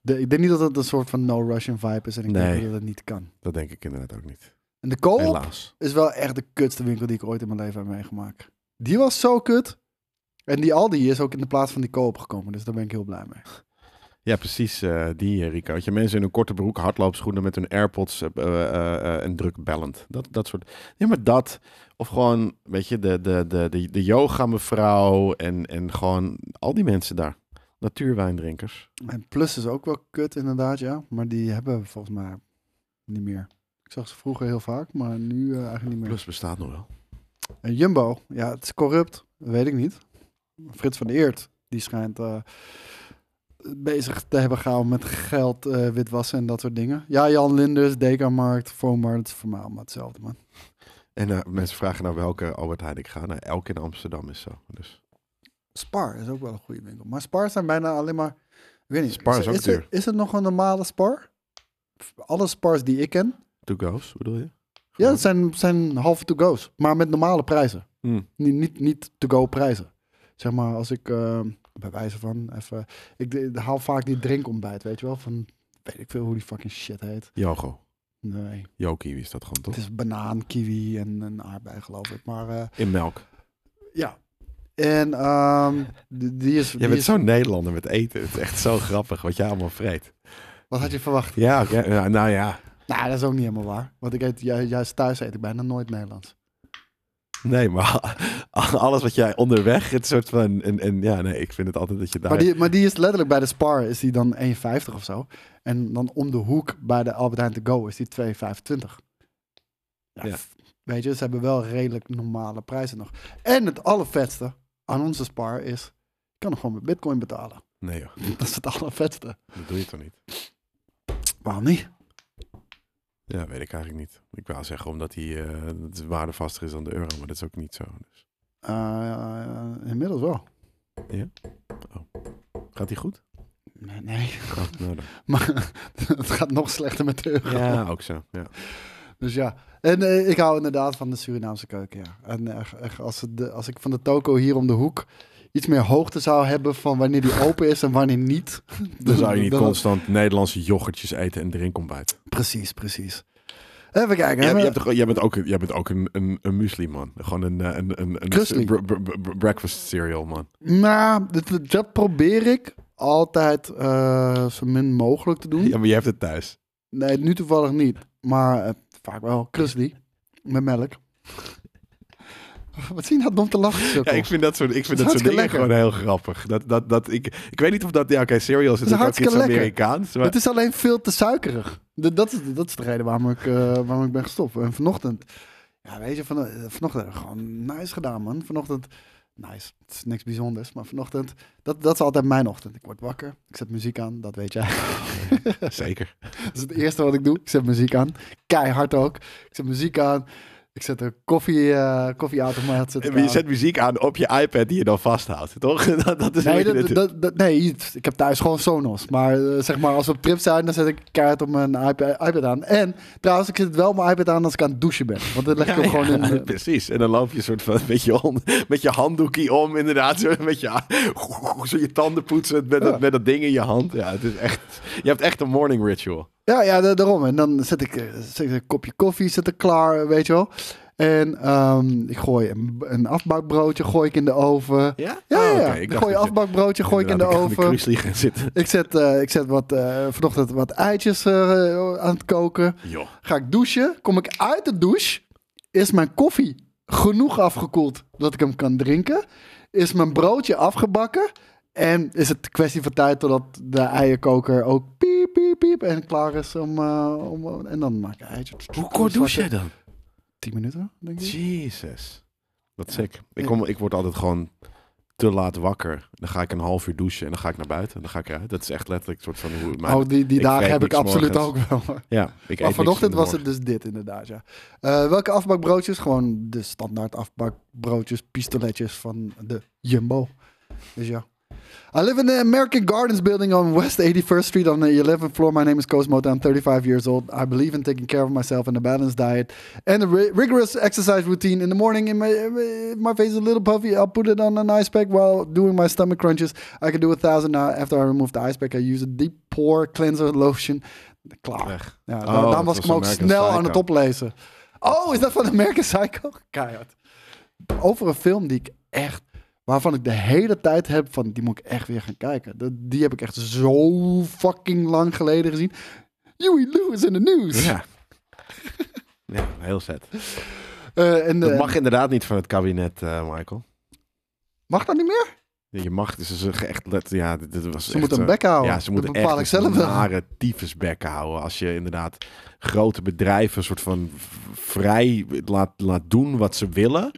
de- ik denk niet dat het een soort van no-Russian vibe is. En ik denk
Nee.
dat het niet kan.
Dat denk ik inderdaad ook niet.
En de kool
Helaas.
is wel echt de kutste winkel die ik ooit in mijn leven heb meegemaakt. Die was zo kut. En die Aldi is ook in de plaats van die kool opgekomen. Dus daar ben ik heel blij mee.
Ja, precies, eh, die eh, Rico. Dat je mensen in hun korte broek, hardloopschoenen met hun AirPods eh, eh, eh, eh, en druk bellend. Dat, dat soort. Ja, maar dat. Of gewoon, weet je, de, de, de, de, de yoga-mevrouw en, en gewoon al die mensen daar. Natuurwijndrinkers.
En Plus is ook wel kut inderdaad, ja. Maar die hebben we volgens mij niet meer. Ik zag ze vroeger heel vaak, maar nu eh, eigenlijk niet meer.
Plus bestaat nog wel.
En Jumbo, ja, het is corrupt. Dat weet ik niet. Frits van Eert, die schijnt eh, bezig te hebben gehouden met geld, eh, witwassen en dat soort dingen. Ja, Jan Linders, Dekamarkt, Foamar, dat is voor mij allemaal hetzelfde, man.
En eh, mensen vragen naar welke Albert Heijn ik ga. Nou, elke in Amsterdam is zo. Dus
Spar is ook wel een goede winkel. Maar Spar zijn bijna alleen maar... Ik weet niet.
Spar is ook
is, er-
duur.
is het nog een normale Spar? Alle Spars die ik ken,
to go's, bedoel je?
ja, dat zijn, zijn halve to-go's. Maar met normale prijzen.
Hmm.
Niet, niet, niet to-go prijzen. Zeg maar, als ik eh, bij wijze van even... Ik de- haal vaak die drinkontbijt, weet je wel? Van, weet ik veel hoe die fucking shit heet.
Yogo.
Nee,
Yokiwi is dat gewoon toch?
het is banaan, kiwi en een aardbei, geloof ik. Maar eh,
In melk.
ja. En ehm, die, die is...
Je
die
bent
is-
zo'n Nederlander met eten. Het is echt zo grappig wat jij allemaal vreet.
Wat had je verwacht?
Ja, oké. Nou, nou ja.
Nou, dat is ook niet helemaal waar. Want ik eet, ju- juist thuis eet ik bijna nooit Nederlands.
Nee, maar alles wat jij onderweg, het soort van... En, en ja, nee, ik vind het altijd dat je daar...
Maar die, maar die is letterlijk bij de Spar is die dan 1,50 of zo. En dan om de hoek bij de Albert Heijn to go is die 2,25. Ja,
Ja.
f- Weet je, ze hebben wel redelijk normale prijzen nog. En het allervetste aan onze Spar is, je kan er gewoon met bitcoin betalen.
Nee joh,
Dat is het allervetste.
dat doe je toch niet?
Waarom niet?
Ja, weet ik eigenlijk niet. Ik wou zeggen omdat die eh, dat het waardevaster is dan de euro, maar dat is ook niet zo. Dus.
Eh, inmiddels wel.
Gaat die goed?
Nee, nee.
Oh, nou dan.
maar het gaat nog slechter met de euro.
Ja, ook zo. Ja.
Dus ja, en eh, ik hou inderdaad van de Surinaamse keuken, ja. En echt, echt, als, het de, als ik van de toko hier om de hoek iets meer hoogte zou hebben van wanneer die open is en wanneer niet.
Dan zou je niet
dan-
constant Nederlandse yoghurtjes eten en drinkontbijt.
Precies, precies. Even kijken.
Jij,
hè,
jij,
maar-
hebt toch- jij bent ook, een- jij bent ook een, een, een muesli, man. Gewoon een, eh, een, een, een,
Krusli.
br- br- br- breakfast cereal, man.
Nou, dat, dat probeer ik altijd eh, zo min mogelijk te doen.
Ja, maar je hebt het thuis.
Nee, nu toevallig niet. Maar eh, vaak wel. Krusli, met melk. Wat zie je nou dom te lachen,
Ja,
sukkel?
ik vind dat soort, ik vind
Dat
dat
is
soort dingen
hartstikke lekker.
gewoon heel grappig. Dat, dat, dat, ik, ik weet niet of dat... Ja, oké, cereal is
is
natuurlijk ook iets
hartstikke lekker.
Amerikaans. Maar
Het is alleen veel te suikerig. D- Dat is, dat is de reden waarom ik, eh, waarom ik ben gestopt. En vanochtend, ja, weet je, van, eh, vanochtend heb ik gewoon nice gedaan, man. Vanochtend, nice, het is niks bijzonders, maar vanochtend, dat, dat is altijd mijn ochtend. Ik word wakker, ik zet muziek aan, dat weet jij.
Zeker.
Dat is het eerste wat ik doe. Ik zet muziek aan, keihard ook. Ik zet muziek aan, ik zet een koffie, eh koffieautomaat. Zet ik
Je
aan.
zet muziek aan op je iPad die je dan vasthoudt, toch? Dat, dat is
Nee,
hoe je
dat,
dit-
dat- dat- nee, ik heb thuis gewoon Sonos. Maar eh, zeg maar, als we op trip zijn, dan zet ik keihard op mijn iPad, iPad aan. En trouwens, ik zet wel mijn iPad aan als ik aan het douchen ben. Want dan leg ik
Ja,
hem gewoon in.
ja,
eh,
precies. En dan loop je soort van met je, on, met je handdoekje om, inderdaad. Zo, met je, zo je tanden poetsen met, dat, met dat ding in je hand. Ja, het is echt... Je hebt echt een morning ritual.
Ja, ja, da- daarom. En dan zet ik, eh, zet ik een kopje koffie, zet ik klaar, weet je wel. En ehm, ik gooi een, een afbakbroodje gooi ik in de oven.
Ja?
Ja, ja,
Oh,
ja.
oké, dacht
Ik gooi een
dat je-
afbakbroodje gooi ik in de
inderdaad, ik ga
oven.
in de cruise liggen zitten.
Ik zet, eh, ik zet wat, eh, vanochtend wat eitjes eh, aan het koken.
Joh.
Ga ik douchen. Kom ik uit de douche. Is mijn koffie genoeg afgekoeld dat ik hem kan drinken? Is mijn broodje afgebakken? En is het kwestie van tijd totdat de eierkoker ook piep, piep, piep en klaar is om... eh, om en dan maak ik een eitje.
Hoe kort douche jij dan?
Tien minuten, denk ik.
Jezus. Wat sick. Ik, kom, ik word altijd gewoon te laat wakker. Dan ga ik een half uur douchen en dan ga ik naar buiten. En dan ga ik eruit. Dat is echt letterlijk een soort van hoe... maar-
oh, die, die
ik
dagen
vreet
heb ik
niks
absoluut
morgens.
ook wel.
ja, ik eet
Maar
niks in
vanochtend
de
was het
morgen.
dus dit inderdaad, ja. Eh, welke afbakbroodjes? Gewoon de standaard afbakbroodjes, pistoletjes van de Jumbo. Dus ja. I live in the American Gardens building on West 81st Street on the 11th floor. My name is Cosmo. I'm 35 years old. I believe in taking care of myself and a balanced diet and a ri- rigorous exercise routine. In the morning, in my, if my face is a little puffy, I'll put it on an ice pack while doing my stomach crunches. I can do a thousand now. After I remove the ice pack, I use a deep pore cleanser lotion. Klaar.
Weg.
Ja, daar,
Oh,
daarom
dat
was ik
was
hem ook
American
snel aan
Psycho.
het oplezen. Oh, is dat van American Psycho? Keihard. Over een film die ik echt... Waarvan ik de hele tijd heb van... Die moet ik echt weer gaan kijken. Dat- die heb ik echt zo fucking lang geleden gezien. Huey Lewis in the News.
Ja. ja, heel set.
Eh, en,
Dat
eh,
mag inderdaad niet van het kabinet, eh, Michael.
mag dat niet meer?
Je mag, dus ze zeggen echt, let- ja, dit, dit was
Ze
echt,
moeten een
eh,
bek houden.
Ja, ze moeten
Oh, dat bepaal
echt
ik
een
zelf wel.
nare tyfusbek houden. Als je inderdaad grote bedrijven een soort van v- vrij laat, laat doen wat ze willen.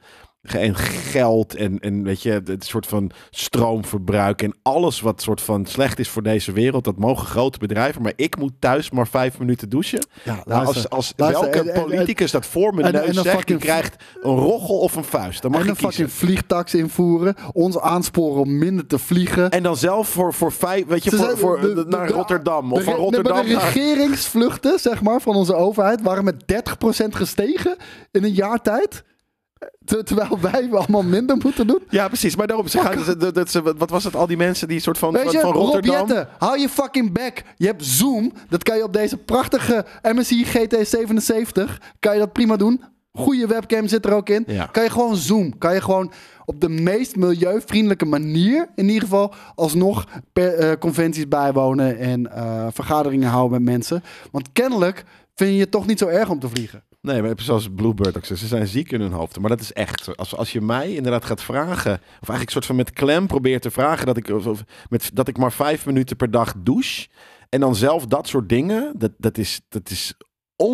Ge- En geld en, en weet je, het soort van stroomverbruik en alles wat soort van slecht is voor deze wereld. Dat mogen grote bedrijven, maar ik moet thuis maar vijf minuten douchen.
Ja,
Nou,
luister.
als als
Luister,
welke
en- en- en-
politicus dat voor mijn
en- en
neus
een
zegt, die
fucking-
krijgt een roggel of een vuist. Dan mag
en
ik
een
kiezen.
fucking vliegtax invoeren. Ons aansporen om minder te vliegen.
En dan zelf voor, voor vijf, weet je,
Ze
voor,
zijn-
voor,
de- de-
naar
de-
Rotterdam. Of
de-
van
nee, maar
Rotterdam
De
naar...
regeringsvluchten, zeg maar, van onze overheid waren met 30% gestegen in een jaar tijd. Ter- terwijl wij allemaal minder moeten doen.
Ja, precies. Maar daarom, ze gaan, ze- dat, dat ze, wat was het, al die mensen die soort van,
Weet
van,
je,
van
Rob
Rotterdam...
Jetten, hou je fucking back. Je hebt Zoom. Dat kan je op deze prachtige MSI GT77. Kan je dat prima doen. Goede webcam zit er ook in.
Ja.
Kan je gewoon Zoom. Kan je gewoon op de meest milieuvriendelijke manier... in ieder geval alsnog per, eh, conventies bijwonen... en eh, vergaderingen houden met mensen. Want kennelijk vind je het toch niet zo erg om te vliegen.
Nee, maar zoals Bluebird ook zegt, ze zijn ziek in hun hoofd. Maar dat is echt. Als, als je mij inderdaad gaat vragen, of eigenlijk soort van met klem probeert te vragen dat ik, of, of met, dat ik maar vijf minuten per dag douche. En dan zelf dat soort dingen, dat, dat is, dat is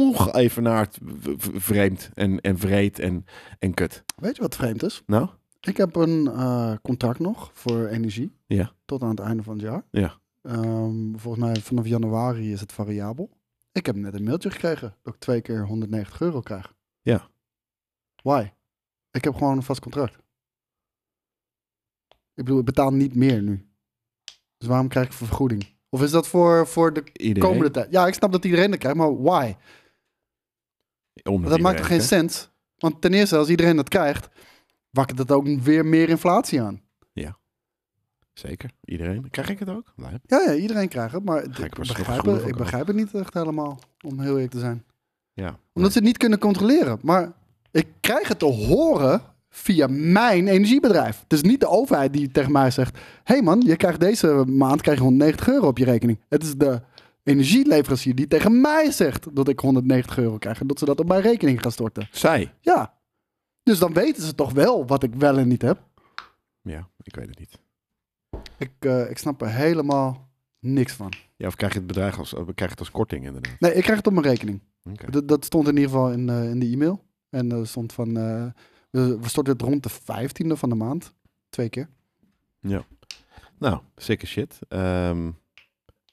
ongeëvenaard v- v- vreemd en, en vreed en, en kut.
Weet je wat vreemd is?
Nou?
Ik heb een eh, contract nog voor energie.
Ja.
Tot aan het einde van het jaar.
Ja.
Ehm, volgens mij vanaf januari is het variabel. Ik heb net een mailtje gekregen dat ik twee keer 190 euro krijg.
Ja.
Why? Ik heb gewoon een vast contract. Ik bedoel, ik betaal niet meer nu. Dus waarom krijg ik een vergoeding? Of is dat voor, voor de
Iedereen.
komende tijd? Ja, ik snap dat iedereen dat krijgt, maar why?
Omdat
dat
iedereen-
maakt toch geen sens? Want ten eerste, als iedereen dat krijgt, wakkert dat ook weer meer inflatie aan.
Zeker, iedereen. Krijg ik het ook? Nee.
Ja, ja iedereen krijgt het, maar ik
waarschijnlijk
begrijp
genoeg
het,
ook
ik
al.
begrijp het niet echt helemaal, om heel eerlijk te zijn.
Ja.
Omdat ze het niet kunnen controleren. Maar ik krijg het te horen via mijn energiebedrijf. Het is niet de overheid die tegen mij zegt... hé hey man, je krijgt deze maand krijg je 190 euro op je rekening. Het is de energieleverancier die tegen mij zegt dat ik 190 euro krijg... en dat ze dat op mijn rekening gaan storten.
Zij.
Ja. Dus dan weten ze toch wel wat ik wel en niet heb.
Ja, ik weet het niet.
Ik, eh, ik snap er helemaal niks van.
Ja, of krijg je het bedrag als, of krijg je het als korting inderdaad.
Nee, ik krijg het op mijn rekening.
Oké.
Dat, dat stond in ieder geval in, eh, in de e-mail. En er stond van, eh, we we storten het rond de 15e van de maand. Twee keer.
Nou, sicker shit. Ehm,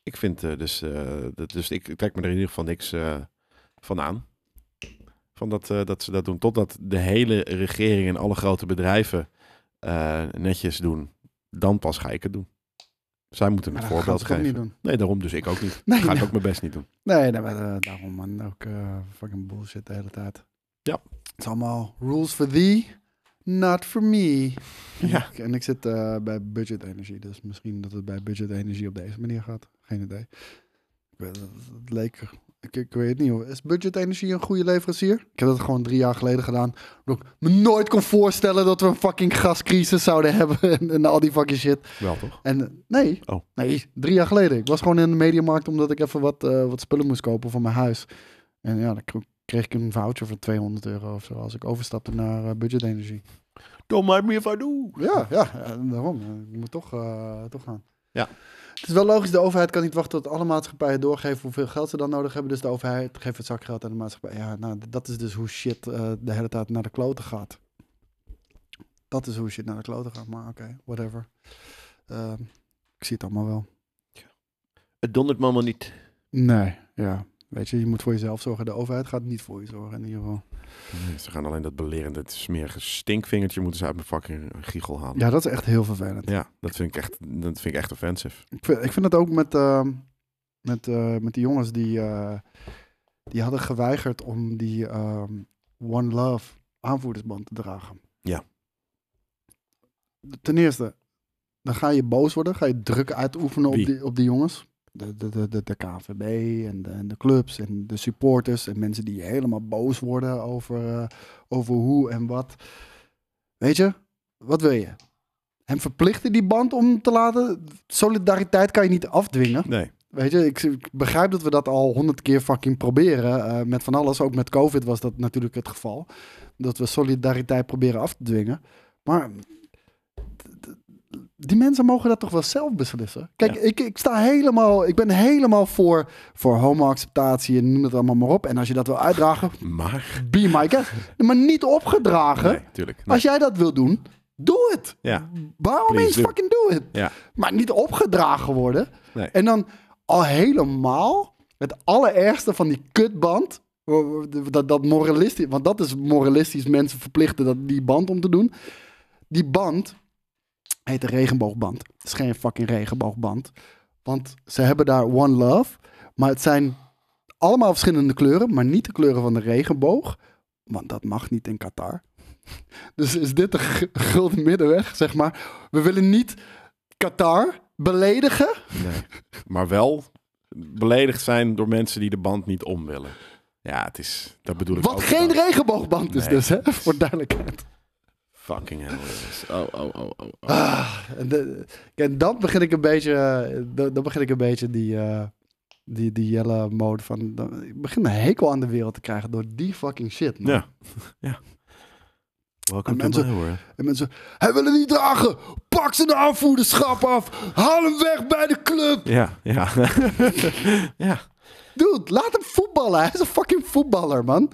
ik vind eh, dus, eh, dat, dus ik trek me er in ieder geval niks eh, van aan. Van dat, eh, dat ze dat doen. Totdat de hele regering en alle grote bedrijven eh, netjes doen. Dan pas ga ik het doen. Zij moeten
Maar
het
dat gaan
voorbeeld
ze toch
geven.
niet doen.
Nee, daarom dus ik ook niet.
Nee,
ga ik
nou.
ook mijn best niet doen.
Nee, nee maar, eh, daarom man. Ook eh, fucking bullshit de hele tijd.
Ja.
Het is allemaal rules for thee, not for me.
Ja.
Ik- En ik zit eh, bij budget energie. Dus misschien dat het bij budget energie op deze manier gaat. Geen idee. Ik weet het het leek... Ik, ik weet het niet hoor. Is Budget Energie een goede leverancier? Ik heb dat gewoon drie jaar geleden gedaan. Omdat ik me nooit kon voorstellen dat we een fucking gascrisis zouden hebben. En, en al die fucking shit.
Wel toch?
En nee,
Oh.
nee, drie jaar geleden. Ik was gewoon in de mediamarkt omdat ik even wat, eh, wat spullen moest kopen voor mijn huis. En ja, dan k- kreeg ik een voucher van 200 euro of zo als ik overstapte naar eh, budget energie.
Don't mind me if I do.
Ja, ja, eh, daarom. Eh, Ik moet toch, eh, toch gaan.
Ja.
Het is wel logisch, de overheid kan niet wachten tot alle maatschappijen doorgeven hoeveel geld ze dan nodig hebben. Dus de overheid geeft het zakgeld aan de maatschappij. Ja, nou, d- dat is dus hoe shit eh, de hele tijd naar de kloten gaat. Dat is hoe shit naar de kloten gaat, maar oké, whatever. Ehm, ik zie het allemaal wel.
Het dondert me allemaal niet.
Nee, ja. Weet je, je moet voor jezelf zorgen. De overheid gaat niet voor je zorgen in ieder geval.
Nee, Ze gaan alleen dat belerende, het smerige stinkvingertje moeten ze uit mijn fucking giegel halen. Ja,
Ja, dat is echt heel vervelend.
dat, vind ik echt, dat vind ik echt offensive.
Ik vind, ik vind dat ook met, ehm, met, eh, met die jongens die, eh, die hadden geweigerd om die ehm, One Love aanvoerdersband te dragen.
Ja.
Ten eerste, dan ga je boos worden, ga je druk uitoefenen op
Wie?
die, op die jongens. De, de, de, de, de KVB en de, en de clubs en de supporters en mensen die helemaal boos worden over, eh, over hoe en wat. Weet je, wat wil je? Hem verplichten die band om te laten. Solidariteit kan je niet afdwingen.
Nee.
Weet je, ik, ik begrijp dat we dat al honderd keer fucking proberen. eh, met van alles, ook met COVID was dat natuurlijk het geval. Dat we solidariteit proberen af te dwingen. Maar d- d- die mensen mogen dat toch wel zelf beslissen? Kijk,
Ja.
ik, ik sta helemaal, ik ben helemaal voor, voor homo-acceptatie en noem het allemaal maar op. En als je dat wil uitdragen,
Maar?
be my guest. Maar niet opgedragen.
Nee, tuurlijk. Nee.
Als jij dat wil doen, doe het.
Ja.
Waarom
Please
eens
do.
fucking doe het?
Ja.
Maar niet opgedragen worden.
Nee.
En dan al helemaal het allerergste van die kutband. Dat, dat moralistisch, want dat is moralistisch mensen verplichten dat, die band om te doen. Die band heet de regenboogband. Het is geen fucking regenboogband. Want ze hebben daar One Love. Maar het zijn allemaal verschillende kleuren, maar niet de kleuren van de regenboog. Want dat mag niet in Qatar. Dus is dit de g- gulden middenweg, zeg maar. We willen niet Qatar beledigen.
Nee. Maar wel beledigd zijn door mensen die de band niet om willen. Ja, het is... Dat bedoel ik ook.
Wat geen
wel.
regenboogband is
Nee.
dus, hè? Voor duidelijkheid.
Fucking hell. jongens. Oh, oh, oh, oh. oh.
Ah, En, de- en dan begin ik een beetje, eh, dan, dan begin ik een beetje die, eh, die, die jelle mode van... dan- ik begin een hekel aan de wereld te krijgen door die fucking shit. man.
Ja. Ja. Welkom to
mensen-
my world.
En mensen, hij wil het niet dragen. Pak zijn aanvoerderschap af. Haal hem weg bij de club.
Ja, ja. ja.
Dude, laat hem voetballen. Hij is een fucking voetballer, man.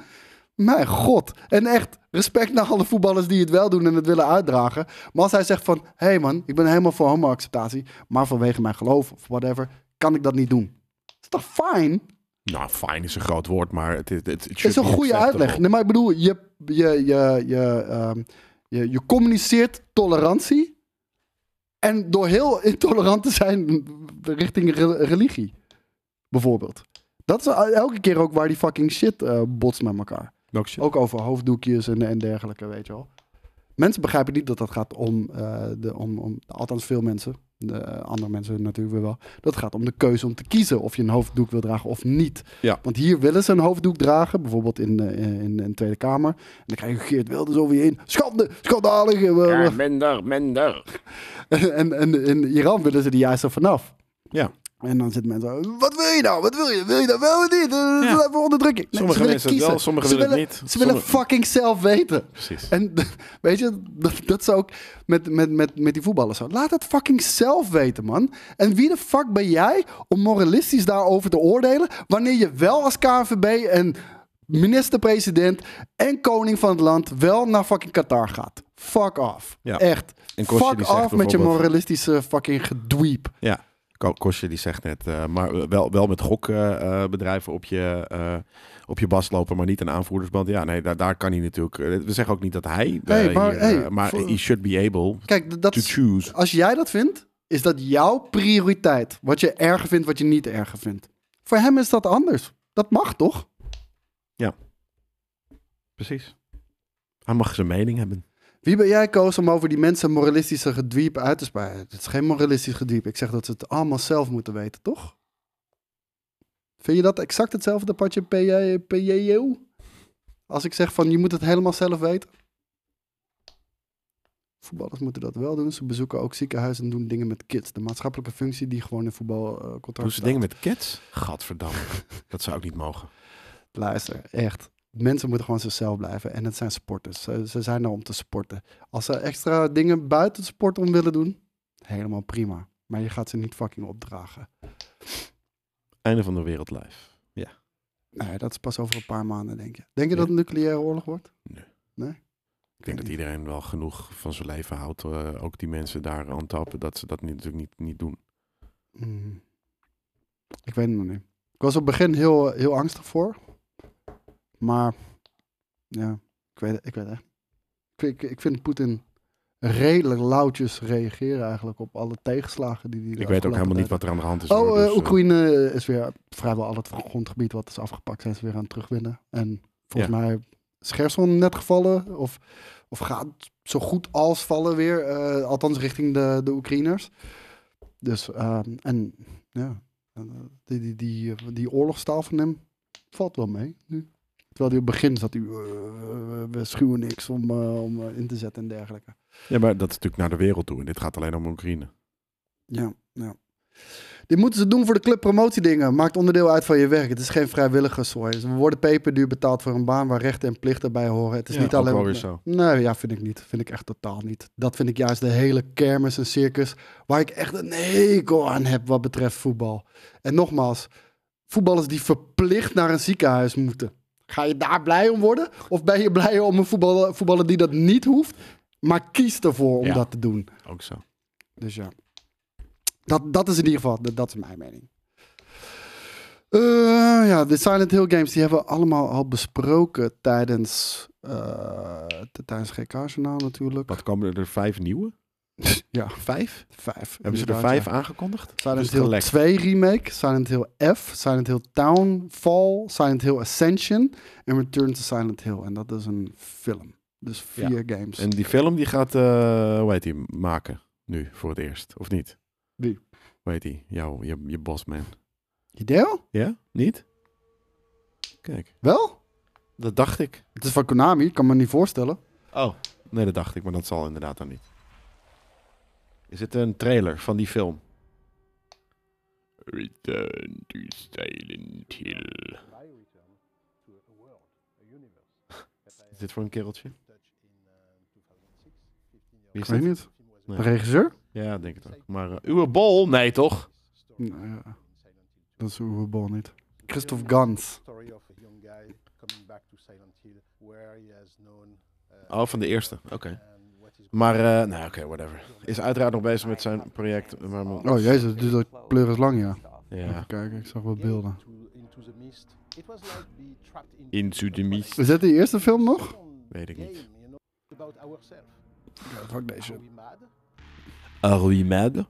Mijn god. En echt, respect naar alle voetballers die het wel doen en het willen uitdragen. Maar als hij zegt van, hé hey man, ik ben helemaal voor homo-acceptatie, maar vanwege mijn geloof of whatever, kan ik dat niet doen. is toch fijn?
Nou, fijn is een groot woord, maar het, het, het,
Het is een goede
eh,
uitleg. Nee, maar ik bedoel, je, je, je, je, ehm, je, je communiceert tolerantie. En door heel intolerant te zijn richting re- religie, bijvoorbeeld. Dat is elke keer ook waar die fucking shit eh, botst met elkaar. Ook over hoofddoekjes en, en dergelijke, weet je wel. Mensen begrijpen niet dat dat gaat om, eh, de, om, om althans veel mensen, de, eh, andere mensen natuurlijk weer wel, dat gaat om de keuze om te kiezen of je een hoofddoek wil dragen of niet.
Ja.
Want hier willen ze een hoofddoek dragen, bijvoorbeeld in, eh, in, in de Tweede Kamer. En dan krijg je Geert Wilders over je heen. Schande, schandalig. eh, eh, eh.
minder, minder.
En, en in Iran willen ze die juist er vanaf.
Ja.
En dan zitten mensen zo, wat wil je nou? Wat wil je? Wil je dat wel of niet? Eh,
Ja.
Dat is even onderdrukking. Nee,
Sommige
ze willen
mensen het wel,
kiezen.
sommigen
Ze
willen het
willen-
niet.
Ze willen
Sommige-
fucking zelf weten.
Precies.
En weet je, dat, dat is ook met, met, met, met die voetballers zo. Laat het fucking zelf weten, man. En wie de fuck ben jij om moralistisch daarover te oordelen... wanneer je wel als KNVB en minister-president en koning van het land... wel naar fucking Qatar gaat? Fuck off.
Ja.
Echt.
En Kostje
fuck
die zegt
off met je
bijvoorbeeld-
moralistische fucking gedweep.
Ja. Ko- Kostje die zegt net, eh, maar wel, wel met gokbedrijven op, je, eh op je bas lopen, maar niet een aanvoerdersband. Ja, nee, daar, daar kan hij natuurlijk. eh, We zeggen ook niet dat hij. eh,
Nee, maar,
hier,
hey,
eh, maar
voor-
he should be able
Kijk, d- dat
to
is
choose.
als jij dat vindt, is dat jouw prioriteit. Wat je erger vindt, wat je niet erger vindt. Voor hem is dat anders. Dat mag toch?
Precies. Hij mag zijn mening hebben.
Wie ben jij, Koos, om over die mensen moralistische gedwiep uit te spuien? Het is geen moralistisch gedwiep. Ik zeg dat ze het allemaal zelf moeten weten, toch? Vind je dat exact hetzelfde padje PJ, PJO? Als ik zeg van je moet het helemaal zelf weten. Voetballers moeten dat wel doen. Ze bezoeken ook ziekenhuizen en doen dingen met kids. De maatschappelijke functie die gewoon in voetbalcontract
Doen ze dingen met cats? Gadverdamme. dat zou ik niet mogen.
Luister, echt. Mensen moeten gewoon zichzelf blijven. En het zijn sporters. Ze, ze zijn er om te sporten. Als ze extra dingen buiten het sport om willen doen, helemaal prima. Maar je gaat ze niet fucking opdragen.
Einde van de wereld live.
Nee, dat is pas over een paar maanden, denk je. Denk je
Ja.
dat het een nucleaire oorlog wordt?
Nee.
Nee?
Ik denk dat
niet.
iedereen wel genoeg van zijn leven houdt. eh, ook die mensen daar aan tappen, dat ze dat niet, natuurlijk niet, niet doen.
Mm. Ik weet het nog niet. Ik was op het begin heel, heel angstig voor. Maar ja, ik weet het, ik weet het echt. Ik, ik, ik vind Poetin redelijk lauwtjes reageren eigenlijk op alle tegenslagen die hij de
ik weet ook
afgelopen
helemaal niet
tijd-
wat er aan de hand is.
Oh,
hoor,
eh,
dus, eh,
Oekraïne is weer vrijwel al het grondgebied wat is afgepakt, zijn ze weer aan het terugwinnen. En volgens mij is Gerson net gevallen, of, of gaat zo goed als vallen weer, eh, althans richting de, de Oekraïners. Dus, ehm, en ja, eh, die, die, die, eh, die oorlogstaal van hem valt wel mee nu. Terwijl hij op het begin zat, hij, eh, we schuwen niks om, eh, om eh, in te zetten en dergelijke.
Ja, maar dat is natuurlijk naar de wereld toe. En dit gaat alleen om Oekraïne.
Ja, ja. Dit moeten ze doen voor de clubpromotiedingen. Maakt onderdeel uit van je werk. Het is geen vrijwilligersooi. We worden peperduur betaald voor een baan waar rechten en plichten bij horen. Het is
Ja,
niet
ook
alleen...
wel weer zo.
Nee, ja, vind ik niet. Vind ik echt totaal niet. Dat vind ik juist de hele kermis en circus waar ik echt een hekel aan heb wat betreft voetbal. En nogmaals, voetballers die verplicht naar een ziekenhuis moeten. Ga je daar blij om worden? Of ben je blij om een voetballer, voetballer die dat niet hoeft, maar kiest ervoor om
Ja.
dat te doen?
Ook zo.
Dus ja. Dat, dat is in ieder geval, dat, dat is mijn mening. Eh, ja, de Silent Hill games, die hebben we allemaal al besproken tijdens, eh, t- tijdens GK-journaal natuurlijk.
Wat komen er vijf nieuwe?
Ja,
Vijf?
vijf.
Hebben ze er
inderdaad,
vijf
ja.
aangekondigd? Dus
Silent
het
Hill
gelekt.
2 remake, Silent Hill F, Silent Hill Townfall, Silent Hill Ascension en Return to Silent Hill. En dat is een film. Dus vier games.
En die film die gaat, eh hoe heet die, maken nu voor het eerst, of niet?
Wie?
Hoe heet die? Jou, je, je bosman.
Ideo?
Ja? Niet? Kijk,
Wel?
dat dacht ik.
Het is van Konami, ik kan me niet voorstellen.
Oh. Nee, dat dacht ik, maar dat zal inderdaad dan niet. Is het een trailer van die film? Return to Silent Hill. Is dit voor een kereltje? Wie
Ik
is
weet
dit?
niet.
Nee.
De regisseur?
Ja, ik denk het ook. Maar eh, uwe bol? Nee, toch?
Nou ja, dat is Uwe Bol niet. Christoph Gans.
story of a young guy coming back to Silent Hill where he has known uh,
Oh, van de eerste. Oké.
and what is
Maar, eh nou oké, whatever. Is uiteraard nog bezig met zijn project. Maar,
Oh jezus, dus dat pleur is lang, ja.
ja.
Even kijken, ik zag wat
going
beelden.
into, into the mist. It was like be trapped in
Into the mist.
Is dat de eerste film nog?
Weet ik niet.
Game, you know, about ourselves.
Fuck
Are we mad?
Are we mad?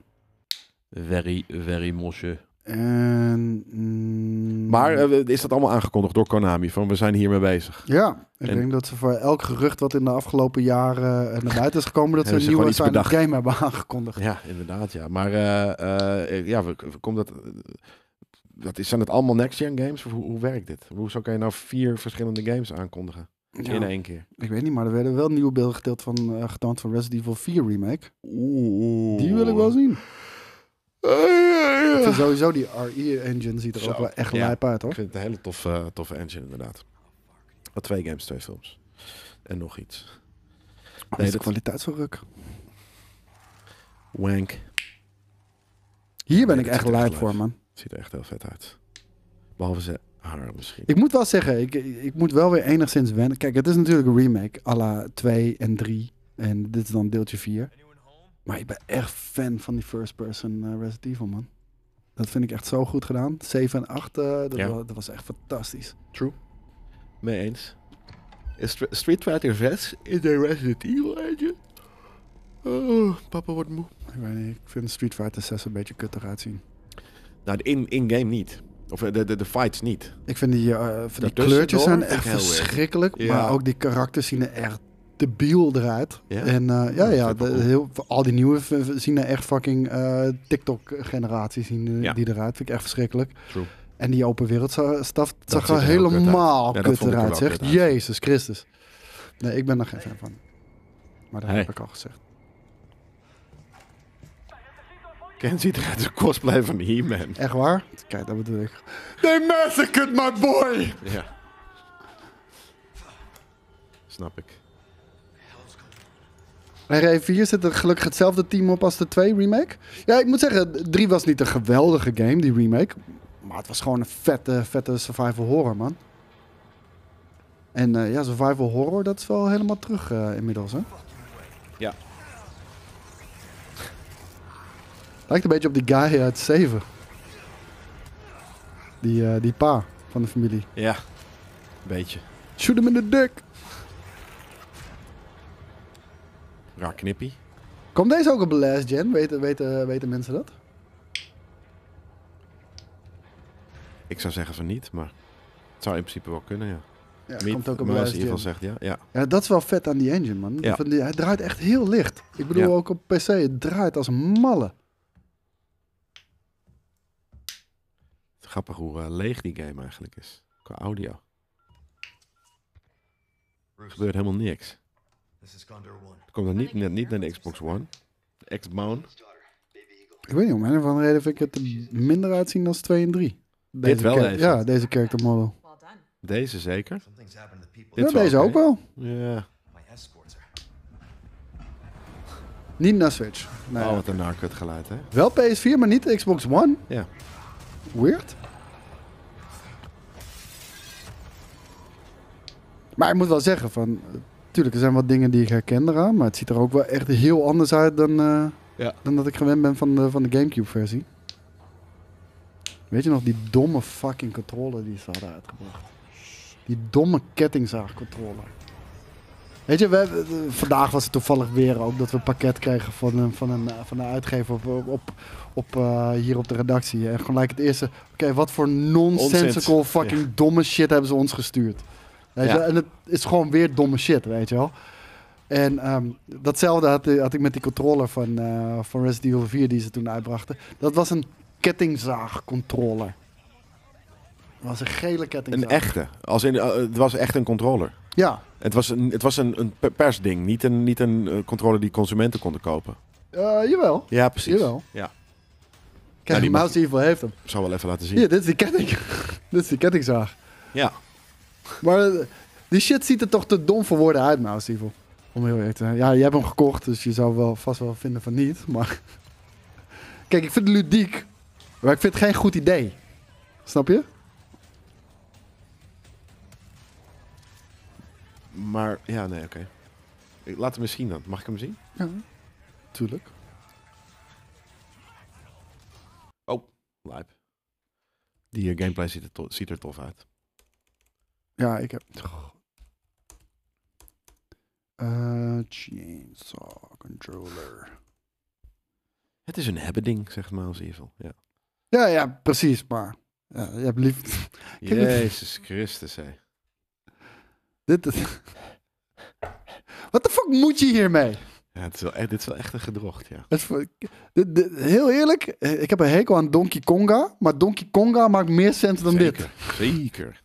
Very, very mosje.
En... mm,
Maar eh, is dat allemaal aangekondigd door Konami? Van we zijn hiermee bezig.
ja, ik
en-
denk dat ze voor elk gerucht wat in de afgelopen jaren eh, naar buiten is gekomen, dat ze
Hebben
een
ze
nieuwe
gewoon iets
Silent
bedacht.
Game hebben aangekondigd.
Ja, inderdaad, ja. Maar eh, eh, ja, we, we komt dat. eh, dat is, zijn het allemaal next-gen games? Of hoe, hoe werkt dit? Hoezo kan je nou vier verschillende games aankondigen
Ja,
in één keer?
ik weet niet, maar er werden wel nieuwe beelden gedeeld van eh, getoond van Resident Evil 4 remake.
Oeh.
Die wil ik wel zien. Ik
Ik
vind
vind het-
sowieso die RE-engine ziet er
Zo,
ook wel echt
ja.
lijp uit,
ik
hoor.
vind het een hele toffe, toffe engine, inderdaad. Al twee games, twee films. En nog iets.
Nee, is de
dat-
kwaliteitsverruk.
Wank.
Hier ben
Nee,
ik
dat
echt
ziet er echt
lijp voor,
lijp.
man.
Ziet er echt heel vet uit. Behalve ze haar misschien.
Ik moet wel zeggen, ik, ik moet wel weer enigszins wennen. Kijk, het is natuurlijk een remake à la 2 en 3. En dit is dan deeltje 4. Maar ik ben echt fan van die first person eh, Resident Evil, man. Dat vind ik echt zo goed gedaan. 7 en 8, eh, dat,
Ja.
wa- dat was echt fantastisch.
Mee eens. Is Stre- Street Fighter 6 is de Resident Evil engine? Oh, papa wordt moe.
Ik weet niet, ik vind Street Fighter 6 een beetje kut eruit zien.
Nou, de in- in-game niet. Of eh, de, de, de fights niet.
Ik vind die, eh, van die
Daartussendoor
kleurtjes zijn
vind ik
echt
heel weird.
verschrikkelijk.
Ja.
Maar ook die karakters zien er echt debiel eruit.
Ja?
En eh,
Ja,
ja,
dat
ja,
vind ik wel
de-
cool.
heel, al die nieuwe v- v- zien er echt fucking eh, TikTok-generaties zien eh,
Ja.
die eruit. Vind ik echt verschrikkelijk.
True.
En die open wereld za- staf
Dat
zag
ziet
er
er heel kut uit.
helemaal
Ja, dat
kut
vond ik er
eruit,
wel
zeg.
kut uit.
Jezus Christus. Nee, ik ben daar geen fan van. Maar dat
Hey.
heb ik al gezegd.
Ken ziet eruit als een cosplay van He-Man.
Echt waar? Kijk, dat bedoel ik.
They massacred my boy! Ja. Snap ik.
Bij 4 zit er gelukkig hetzelfde team op als de 2 remake. Ja, ik moet zeggen, 3 was niet een geweldige game, die remake. Maar het was gewoon een vette, vette survival horror, man. En eh, ja, survival horror, dat is wel helemaal terug eh, inmiddels, hè?
Ja.
Lijkt een beetje op die guy uit 7. Die, eh, die pa van de familie.
Ja. Beetje.
Shoot hem in de dik.
Raar knippie.
Komt deze ook op de last gen? Weten, weten, weten mensen dat?
Ik zou zeggen van niet, maar het zou in principe wel kunnen, ja.
Ja,
Niet,
komt ook op de
maar als
last
je in ieder
gen.
geval zegt, ja. ja.
Ja, dat is wel vet aan die engine, man.
Ja.
Van die, hij draait echt heel licht. Ik bedoel,
Ja.
ook op PC, het draait als een malle.
Het is Grappig hoe eh, leeg die game eigenlijk is. Qua audio. Er gebeurt helemaal niks.
This is Condor One.
Het komt dan niet, net niet naar de Xbox One. De X-Bone.
Ik weet niet, om een of andere reden vind ik het er minder uitzien dan 2 en 3. Deze
wel
char-
even.
Ja, deze character model.
Well done.
Deze zeker.
Something's happened to the people.
Dit
Ja,
is wel oké.
deze ook wel. Nou
Ja.
My escorts are.
Niet naar Switch. Nee.
Oh, wat een narkut geluid, hè?
Wel PS4, maar niet Xbox One.
Ja.
Weird. Maar ik moet wel zeggen, van, eh, tuurlijk, er zijn wat dingen die ik herken eraan, maar het ziet er ook wel echt heel anders uit dan, eh,
Ja.
dan dat ik gewend ben van de, van de Gamecube-versie. Weet je nog die domme fucking controller die ze hadden uitgebracht? Die domme kettingzaagcontroller. Weet je, we, hebben- eh, vandaag was het toevallig weer ook dat we een pakket kregen van een, van een, eh, van een uitgever op, op, op, op, eh, hier op de redactie. En gelijk het eerste, oké, wat voor nonsensical
Nonsens,
fucking domme shit hebben ze ons gestuurd. Weet je,
Ja.
wel? En het is gewoon weer domme shit, weet je wel. En ehm, datzelfde had, eh, had ik met die controller van, eh van Resident Evil 4 die ze toen uitbrachten. Dat was een kettingzaagcontroller. Dat was een gele kettingzaag.
Een echte. Als in, eh, het was echt een controller.
Ja,
Het was een, het was een, een pe- persding, niet een, niet een eh, controller die consumenten konden kopen.
Eh, jawel.
Ja, precies.
Jawel.
Ja,
Kijk,
die mag-
Mouse Evil heeft hem.
ik zal wel even laten zien.
Hier, dit is die ketting. dit is die kettingzaag.
Ja.
Maar eh, die shit ziet er toch te dom voor woorden uit, Mouse Evil. Om heel eerlijk te zijn. Ja, je hebt hem gekocht, dus je zou wel vast wel vinden van niet. Maar kijk, ik vind het ludiek, maar ik vind het geen goed idee. Snap je?
Maar, ja, nee, oké. Ik- Laat hem eens zien dan. Mag ik hem zien?
Ja, tuurlijk.
Oh, lijp. Die eh, gameplay ziet er, to- ziet er tof uit.
Ja, ik heb. Eh, chainsaw controller.
Het is een hebbeding, zegt Miles Evil. Ja.
Ja, ja, precies, maar. Ja, je hebt lief. Kijk, dit-
Jezus Christus, hé.
Dit is... Wat de fuck moet je hiermee?
Ja, het is wel, echt- dit is wel echt een gedrocht, ja.
Het is voor- dit- dit- heel eerlijk, eh, ik heb een hekel aan Donkey Konga, maar Donkey Konga maakt meer sens dan dit.
Zeker. Zeker.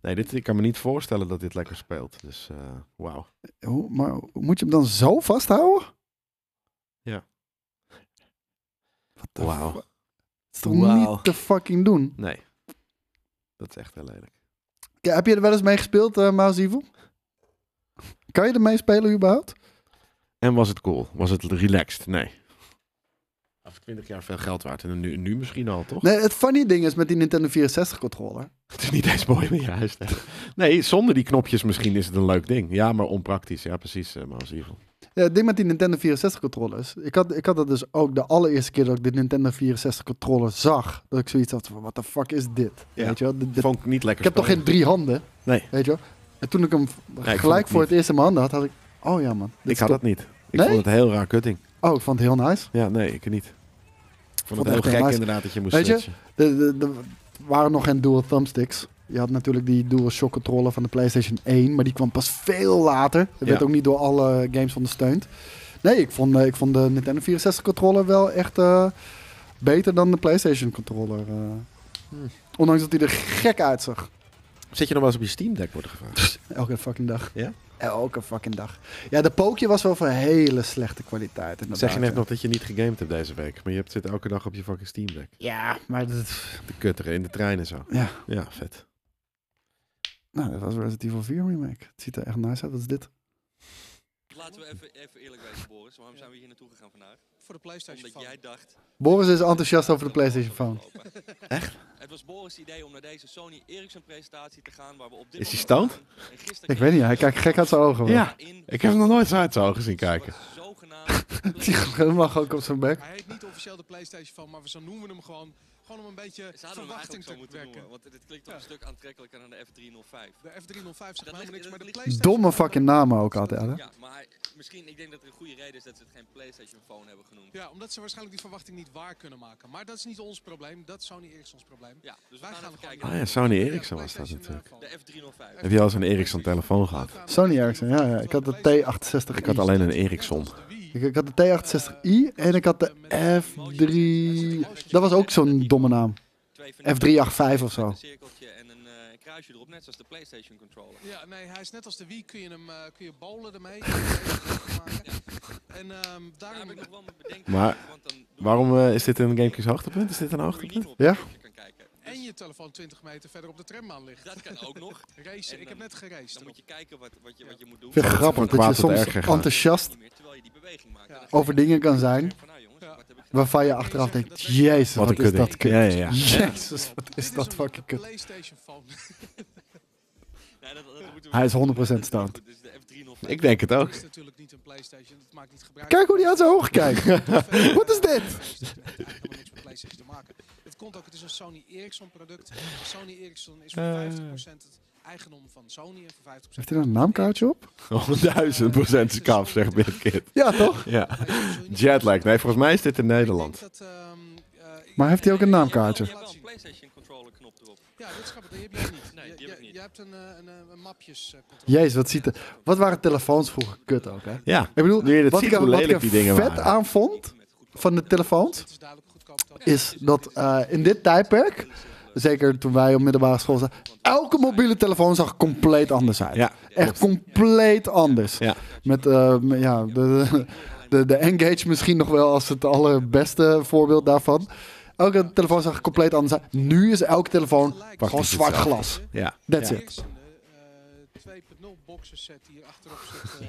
Nee, dit, ik kan me niet voorstellen dat dit lekker speelt. Dus, eh, wauw.
Hoe, maar moet je hem dan zo vasthouden?
Ja.
Wat de
Wauw.
fu- Dat is toch
Wauw.
niet te fucking doen?
Nee. Dat is echt heel lelijk.
Ja, heb je er wel eens mee gespeeld, eh Mouse Evil? Kan je er mee spelen überhaupt?
En was het cool? Was het relaxed? Nee. Over 20 jaar veel geld waard. En nu, nu misschien al, toch?
Nee, het funny ding is met die Nintendo 64 controller.
Het is niet eens mooi meer juist. Nee, zonder die knopjes misschien is het een leuk ding. Ja, maar onpraktisch. Ja, precies, eh Miles Evil.
Ja, het ding met die Nintendo 64 controllers. Ik had, ik had dat dus ook de allereerste keer dat ik de Nintendo 64 controller zag. Dat ik zoiets had van, wat de fuck is dit?
Ja.
Weet je wel? Dit- dit-
Vond ik niet
ik
lekker
heb toch geen
spelen.
drie handen?
Nee.
Weet je wel? En toen ik hem
vond
gelijk
het
voor
niet.
het eerst in mijn handen had, had ik... Oh ja man.
Ik
dit is
had
toch-
dat niet. Ik
Nee?
vond het een heel raar kutting.
Oh, ik vond het heel nice.
Ja, nee, ik niet. Ik vond
Vond
het heel
echt
gek
heel nice.
inderdaad dat je moest
Weet je?
switchen.
Er de, de, waren nog geen dual thumbsticks. Je had natuurlijk die dual shock controller van de PlayStation 1, maar die kwam pas veel later. Dat
Ja.
werd ook niet door alle games ondersteund. Nee, ik vond, eh, ik vond de Nintendo 64 controller wel echt eh, beter dan de PlayStation controller. eh.
Hmm.
Ondanks dat hij er gek uitzag.
Zit je nog wel eens op je Steam Deck worden gevraagd?
Elke fucking dag.
Ja?
Elke fucking dag. Ja, de pookje was wel van hele slechte kwaliteit.
Dat
inderdaad,
zeg je
ja.
net nog dat je niet gegamed hebt deze week. Maar je hebt- zit elke dag op je fucking Steam Deck.
Ja, maar dat...
Te kutteren in de trein en zo.
Ja.
Ja, vet.
Nou, dat was Resident Evil 4 remake. Het ziet er echt nice uit. Wat is dit?
Laten we even, even eerlijk wezen, Boris. Waarom zijn we hier naartoe gegaan vandaag?
Voor de PlayStation
Omdat jij dacht...
Boris is enthousiast over de PlayStation Phone.
Echt?
Het was Boris' idee om naar deze Sony Ericsson presentatie te gaan waar we op dit
Is hij
moment
stoned?
staan. En gisteren
Ik weet niet, hij kijkt gek uit zijn ogen. man.
Ja.
in
Ik heb hem nog nooit zo uit zijn ogen zien kijken.
wat zogenaamd
Die gaat helemaal ook op zijn bek.
Hij heet niet officieel de PlayStation van, maar zo noemen we hem gewoon. Gewoon om een beetje
Ze hadden hem
verwachting
eigenlijk zo
te
moeten noemen,
wekken.
want dit klinkt toch een
Ja.
stuk aantrekkelijker dan de F305.
De F305
ligt-
zegt helemaal niks,
dat
maar de
ligt-
PlayStation...
Domme fucking namen ook altijd. Hè?
Ja, maar hij- misschien, ik denk dat er een goede reden is dat ze het geen PlayStation Phone hebben genoemd.
Ja, omdat ze waarschijnlijk die verwachting niet waar kunnen maken. Maar dat is niet ons probleem, dat is Sony Ericsson's probleem.
Ja, dus we
Wij
gaan,
gaan
even
gewoon-
kijken.
Ah ja, Sony Ericsson was dat natuurlijk.
De F305.
Heb je al eens een Ericsson telefoon gehad?
Sony Ericsson, ja, ja. Ik had de T68i.
Ik had alleen een Ericsson.
Ik, ik had de T68i en ik had de F3... Dat was ook zo'n domme naam.
Twee van die-
F385 of zo.
Met Een cirkeltje en een eh, kruisje erop, net zoals de PlayStation controller.
Ja, nee, hij is net als de Wii, kun je hem eh, kun je bowlen ermee. Kun je maken. en ehm
Daar heb
daarom...
ik nog wel mijn bedenking.
Maar
over, want dan doen we-
Waarom eh, is dit een GameCube's hoogtepunt? Is dit een
hoe je niet
hoogtepunt?
meer op
Ja?
het filmpje kan kijken. Dus
En je telefoon 20 meter verder op de trambaan ligt.
dat kan ook nog.
Racen,
En
ik heb
dan-
net
Dan
geraced.
moet je kijken wat, wat, je, wat je moet doen.
Ik vind het
Van
grappig dat je
kwaad tot
soms
erger gaat.
enthousiast
Niet meer, terwijl je die beweging maakt.
Ja.
En dan
over dingen kan zijn...
denk je van, nou jongens,
Ja.
wat heb ik gedaan?
waarvan je achteraf denkt... Jezus,
Wat
wat,
een
is
kutding.
dat kut.
Ja, ja, ja.
Jezus, wat
Dit
is dat
een
fucking kut.
PlayStation phone.
Nee, dat, dat moeten we
Hij is 100%
dat is
staand.
goed, dus de F305.
Ik denk het ook.
Het is natuurlijk niet een PlayStation, het maakt niet gebruik.
Kijk hoe hij uit zijn ogen kijkt.
zijn
Wat is dit?
helemaal niks met PlayStation te maken. Het komt ook, het is een Sony Ericsson product. Sony Ericsson is voor
Eh.
50% het eigendom van Sony en voor 50%
Heeft hij daar een naamkaartje op?
1000 procent zijn kaf, zegt Birkit.
Ja, toch?
Ja.
Sony.
Jetlag. Nee, volgens mij is dit in
Ik denk
Nederland.
dat, ehm, eh,
Maar heeft hij ook een
ja,
naamkaartje?
Je hebt wel een PlayStation controller knop erop.
Ja, dat snap ik. Die heb jij niet.
Nee, die
Je-
heb ik
je-
niet.
Je hebt een, eh, een, eh, een mapjescontrole.
Jezus, wat ziet er... Wat waren telefoons vroeger kut ook, hè?
Ja.
Ik bedoel,
Nu je dit
wat
ziet,
ik, er-
hoe
wat ik
lelijk
er
die dingen
vet
waren.
aan vond
Met goedkoop.
van de telefoons,
Het is duidelijk goedkoop dan.
is dat eh, in dit tijdperk, zeker toen wij op middelbare school zaten, elke mobiele telefoon zag compleet anders uit.
Ja.
Echt compleet anders.
Ja.
Met eh, m- ja, de, de, de Engage misschien nog wel als het allerbeste voorbeeld daarvan. Elke telefoon zag compleet anders uit. Nu is elke telefoon gewoon
is
zwart
hetzelfde.
glas.
Ja.
That's
De
it.
Ericsson, eh, eh, 2.0 boxen set die hier achterop zit,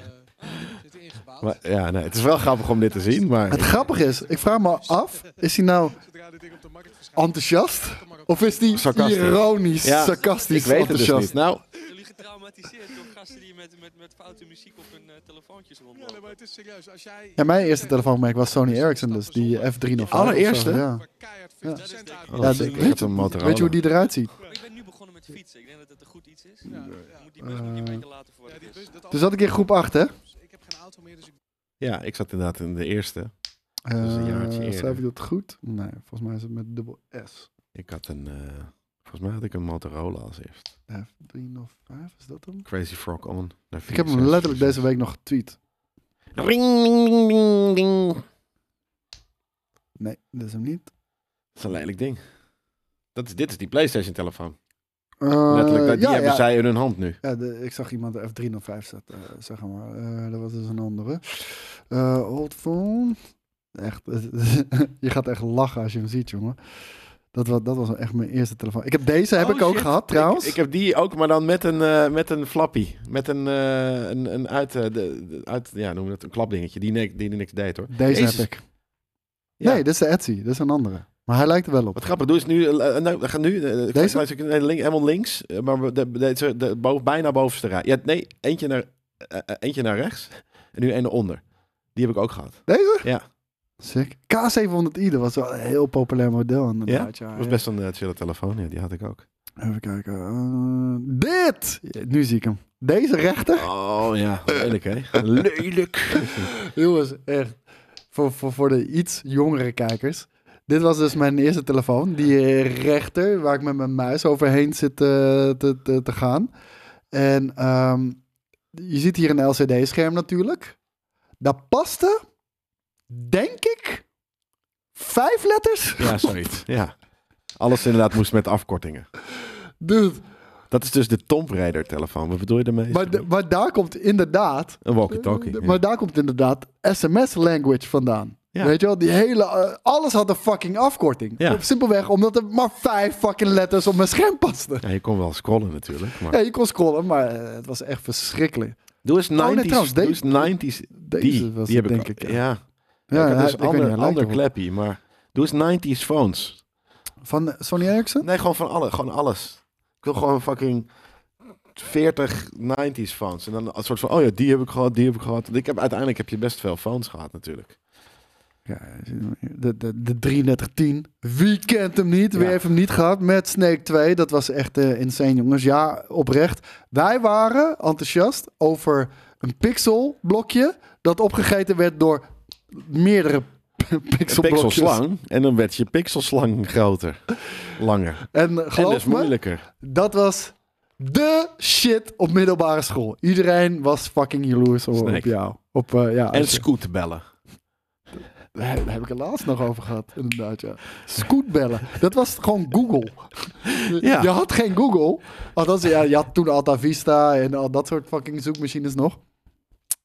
eh, zit ingebouwd.
Maar, ja, nee, het is wel grappig om dit te zien,
Het
maar
grappige is, ik vraag me af, is hij nou
Zodra dit ding op de markt verschijnt,
enthousiast?
komt maar op.
Of is die
Sarcastisch.
ironisch,
Ja, ik
sarcastisch
weet het dus
enthousiast?
niet. Nou,
Jullie getraumatiseerd door gasten die met, met, met foute muziek op hun eh, telefoontjes
Ja,
rondlopen.
nee, maar het is serieus. Als jij
Ja, mijn eerste telefoonmerk was Sony Ericsson, dus die F305. of zo,
Allereerste?
Ja.
keihard
Ja.
50 cent uit.
Oh,
Ja,
shit,
de-
ik
weet,
had een
je,
Motorola.
weet je hoe die eruit ziet?
Maar Ik ben nu begonnen met fietsen. Ik denk dat het een goed iets is.
Ja,
Je
ja.
Moet die bus moet je een beetje laten voor wat
Ja,
het
die
is.
bus- dat
Dus zat ik in groep 8, hè?
Ik heb geen auto meer, dus ik
Ja, ik zat inderdaad in de eerste. is een jaartje
Eh schrijf ik
eerder.
dat goed? Nee, volgens mij is het met dubbel S.
Ik had een, eh, volgens mij had ik een Motorola als eerst.
F305, is dat hem?
Crazy Frog On. naar
Ik heb hem letterlijk deze week nog getweet.
Ring, ding, ding, ding.
Nee, dat is hem niet.
Dat is een lelijk ding. Dat is, dit is die PlayStation telefoon.
Eh,
Letterlijk, dat- die
ja,
hebben
ja.
zij in hun hand nu.
Ja, de- ik zag iemand de F305 zat, eh, zeg maar. Eh, dat was dus een andere. Eh old phone. Echt, je gaat echt lachen als je hem ziet, jongen. Dat was, dat was echt mijn eerste telefoon. Ik heb deze heb
Oh,
ik ook
shit.
gehad, trouwens.
Ik heb die ook, maar dan met een, eh, met een flappy. Met een, eh, een, een uit, eh, de, de- uit, ja, noem het een klapdingetje. Die, ne- die niks deed hoor.
Deze
Jezus.
heb ik.
Ja.
Nee, dit is de Etsy. Dit is een andere. Maar hij lijkt er wel op.
Wat grappig, doe is nu, eh, eh, nou, we gaan nu, eh, ik
Deze?
ga- ik- nee, link, helemaal links, eh, maar we- de, de, de, de boven, bijna bovenste rij. Ja, nee, eentje naar, eh, eh, eentje naar rechts en nu een naar onder. Die heb ik ook gehad.
Deze?
Ja.
Sick. K700i, dat was wel een heel populair model inderdaad. Ja?
Dat was best een eh, chille telefoon, ja, die had ik ook.
Even kijken. Eh, dit! Ja, nu zie ik hem. Deze rechter.
Oh ja, lelijk hè. Lelijk.
Jongens, echt. Voor, voor, voor de iets jongere kijkers. Dit was dus mijn eerste telefoon. Die eh, rechter, waar ik met mijn muis overheen zit eh, te, te, te gaan. En ehm, je ziet hier een LCD-scherm natuurlijk. Daar paste, denk ik, vijf letters
Ja, zoiets. Ja. Alles inderdaad moest met afkortingen.
Dude,
Dat is dus de Tomb Raider telefoon. Wat bedoel je daarmee?
maar, de- maar daar komt inderdaad...
een walkie-talkie.
de-
ja.
Maar daar komt inderdaad sms-language vandaan.
Ja.
Weet je wel, die hele... eh, alles had een fucking afkorting.
Ja.
Simpelweg omdat er maar vijf fucking letters op mijn scherm pasten.
Ja, je kon wel scrollen natuurlijk. Maar...
Ja, je kon scrollen, maar eh, het was echt verschrikkelijk.
Doe eens 90s.
Oh, nee, trouwens,
doe
deze-
eens 90s.
Deze
Die,
was
die
het,
heb
denk
ik.
ik.
al- Ja,
Ja,
ik had
hij-
dus
ik
een ander,
weet niet, hij lijkt
ander
erop.
clappy, maar doe eens 90s phones.
Van eh, Sony Ericsson?
Nee, gewoon van alle, gewoon alles. Ik wil gewoon fucking 40 90s phones. En dan een soort van, oh ja, die heb ik gehad, die heb ik gehad. Want Ik heb, uiteindelijk heb je best veel phones gehad natuurlijk.
Ja, de, de, de 3310. Wie kent hem niet? Wie
Ja.
heeft hem niet gehad? Met Snake 2. Dat was echt eh, insane, jongens. Ja, oprecht. Wij waren enthousiast over een pixelblokje dat opgegeten werd door meerdere
Een
pixelblokjes.
pixelslang. En dan werd je pixelslang groter. Langer.
En
en
geloof
dus
me,
moeilijker.
dat was de shit op middelbare school. Iedereen was fucking jaloers op,
Snake.
op jou. Op, eh, ja,
En
als je-
scoot bellen.
Daar daar heb ik het laatst nog over gehad, inderdaad, ja. Scootbellen. Dat was gewoon Google.
Ja.
Je had geen Google. Althans, ja, je had toen Alta Vista en al dat soort fucking zoekmachines nog.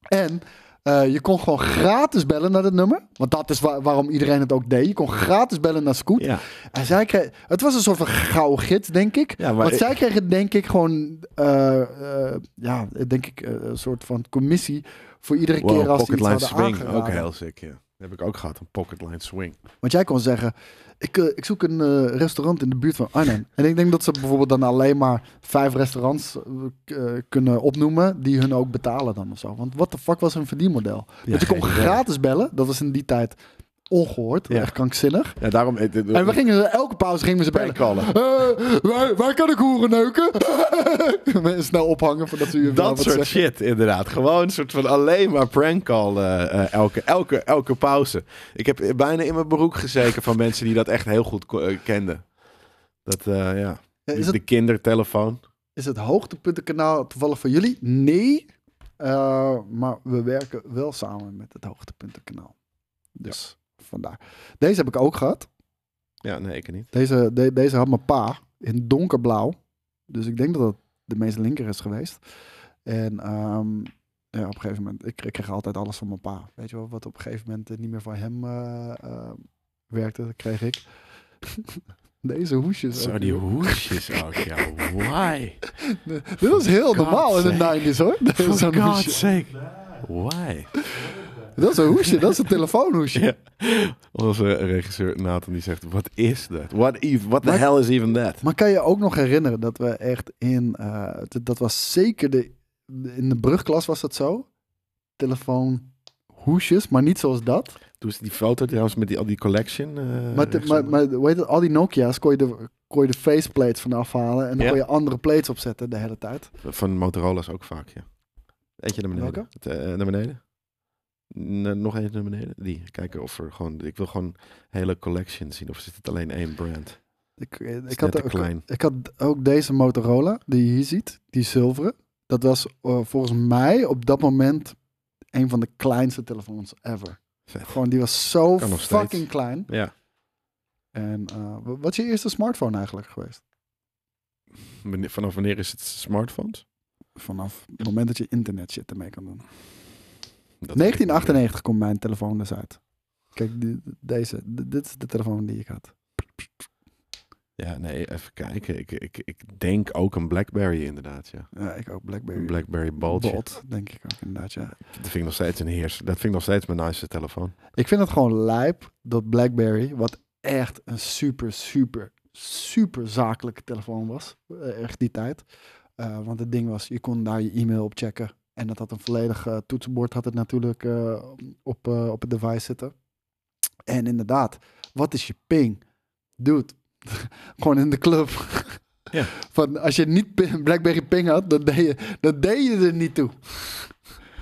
En eh, je kon gewoon gratis bellen naar dat nummer. Want dat is wa- waarom iedereen het ook deed. Je kon gratis bellen naar Scoot.
Ja.
En zij kreeg, het was een soort van gouden gids, denk ik.
Ja, maar
Want
ik-
zij kregen denk ik gewoon, eh, eh, ja, denk ik, eh, een soort van commissie voor iedere keer als ze iets
pocketline
hadden
swing. Ook
aangeraden.
heel sick, ja. Dat heb ik ook gehad, een pocketline swing.
Want jij kon zeggen, ik, eh, ik zoek een eh, restaurant in de buurt van Arnhem. En ik denk dat ze bijvoorbeeld dan alleen maar vijf restaurants eh, k- eh, kunnen opnoemen die hun ook betalen dan of zo. Want wat de fuck was hun verdienmodel? Want je kon
geen idee.
gratis bellen, dat was in die tijd ongehoord,
Ja.
echt krankzinnig.
Ja, daarom... eh, dit-
En we gingen, ze- elke pauze gingen we ze bellen.
Prankallen.
Eh, waar, waar kan ik hoeren neuken? Mensen Snel ophangen voordat ze u even
Dat
wat
soort
zeggen.
shit, inderdaad. Gewoon een soort van alleen maar prank call eh, eh, elke, elke, elke pauze. Ik heb bijna in mijn broek gezeken van mensen die dat echt heel goed ko- eh, kenden. Dat, eh, ja.
Ja,
Die-
Is het
De kindertelefoon.
Is het hoogtepuntenkanaal toevallig voor jullie? Nee. Eh, maar we werken wel samen met het hoogtepuntenkanaal. Dus vandaar. Deze heb ik ook gehad.
Ja, nee, ik niet.
Deze, de- deze had mijn pa in donkerblauw. Dus ik denk dat dat de meest linker is geweest. En ehm, ja, op een gegeven moment, ik, ik kreeg altijd alles van mijn pa. Weet je wel, wat op een gegeven moment eh, niet meer van hem eh, eh, werkte, dat kreeg ik. Deze hoesjes.
Zo,
ook,
die
joh.
hoesjes ook. Ja, why?
Dit was heel normaal in de
sake.
90s hoor.
For
Zo'n
God's
hoesje.
sake. Why?
Dat is een hoesje, dat is een telefoonhoesje.
Ja. Onze regisseur Nathan die zegt, what is that? What, eve- what the
Maar-
hell is even that?
Maar kan je ook nog herinneren dat we echt in, eh, d- dat was zeker de, in de brugklas was dat zo? Telefoonhoesjes, maar niet zoals dat.
Toen is die foto trouwens met die, al die collection. eh,
maar, te- maar,
rechtsonder.
maar hoe heet het? al die Nokia's kon je de, kon je de faceplates van afhalen en dan
Ja.
kon je andere plates opzetten de hele tijd.
Van Motorola's ook vaak, ja. Eentje naar beneden.
Welke?
Het, eh, naar beneden. N- nog eentje naar beneden. Die. Kijken of er gewoon... Ik wil gewoon hele collection zien. Of zit het alleen één brand?
Ik, eh,
net
ik, had,
te
ook,
klein.
ik had ook deze Motorola die je hier ziet, die zilveren. Dat was eh, volgens mij op dat moment een van de kleinste telefoons ever.
Vet.
Gewoon, die was zo
Kan nog steeds.
fucking klein.
Ja.
En eh, wa- wat is je eerste smartphone eigenlijk geweest?
Wanneer- Vanaf wanneer is het smartphones?
Vanaf het moment dat je internet shit ermee kan doen.
Dat-
1998 komt mijn telefoon dus uit. Kijk, die- deze. D- dit is de telefoon die ik had.
Ja, nee. Even kijken. Ik, ik, ik denk ook een Blackberry inderdaad, ja.
Ja, ik ook Blackberry.
Een Blackberry Bolt. ja.
Bolt, denk ik ook inderdaad, ja.
Dat vind ik nog steeds een heers. Dat vind ik nog steeds mijn nice telefoon.
Ik vind het gewoon lijp dat BlackBerry, wat echt een super, super, super zakelijke telefoon was, eh, echt die tijd. Eh, want het ding was, je kon daar je e-mail op checken. En dat had een volledig eh, toetsenbord, had het natuurlijk eh, op, eh, op het device zitten. En inderdaad, wat is je ping? Dude, gewoon in de club.
Ja.
Van, als je niet ping- BlackBerry ping had, dan deed je, dan deed je er niet toe.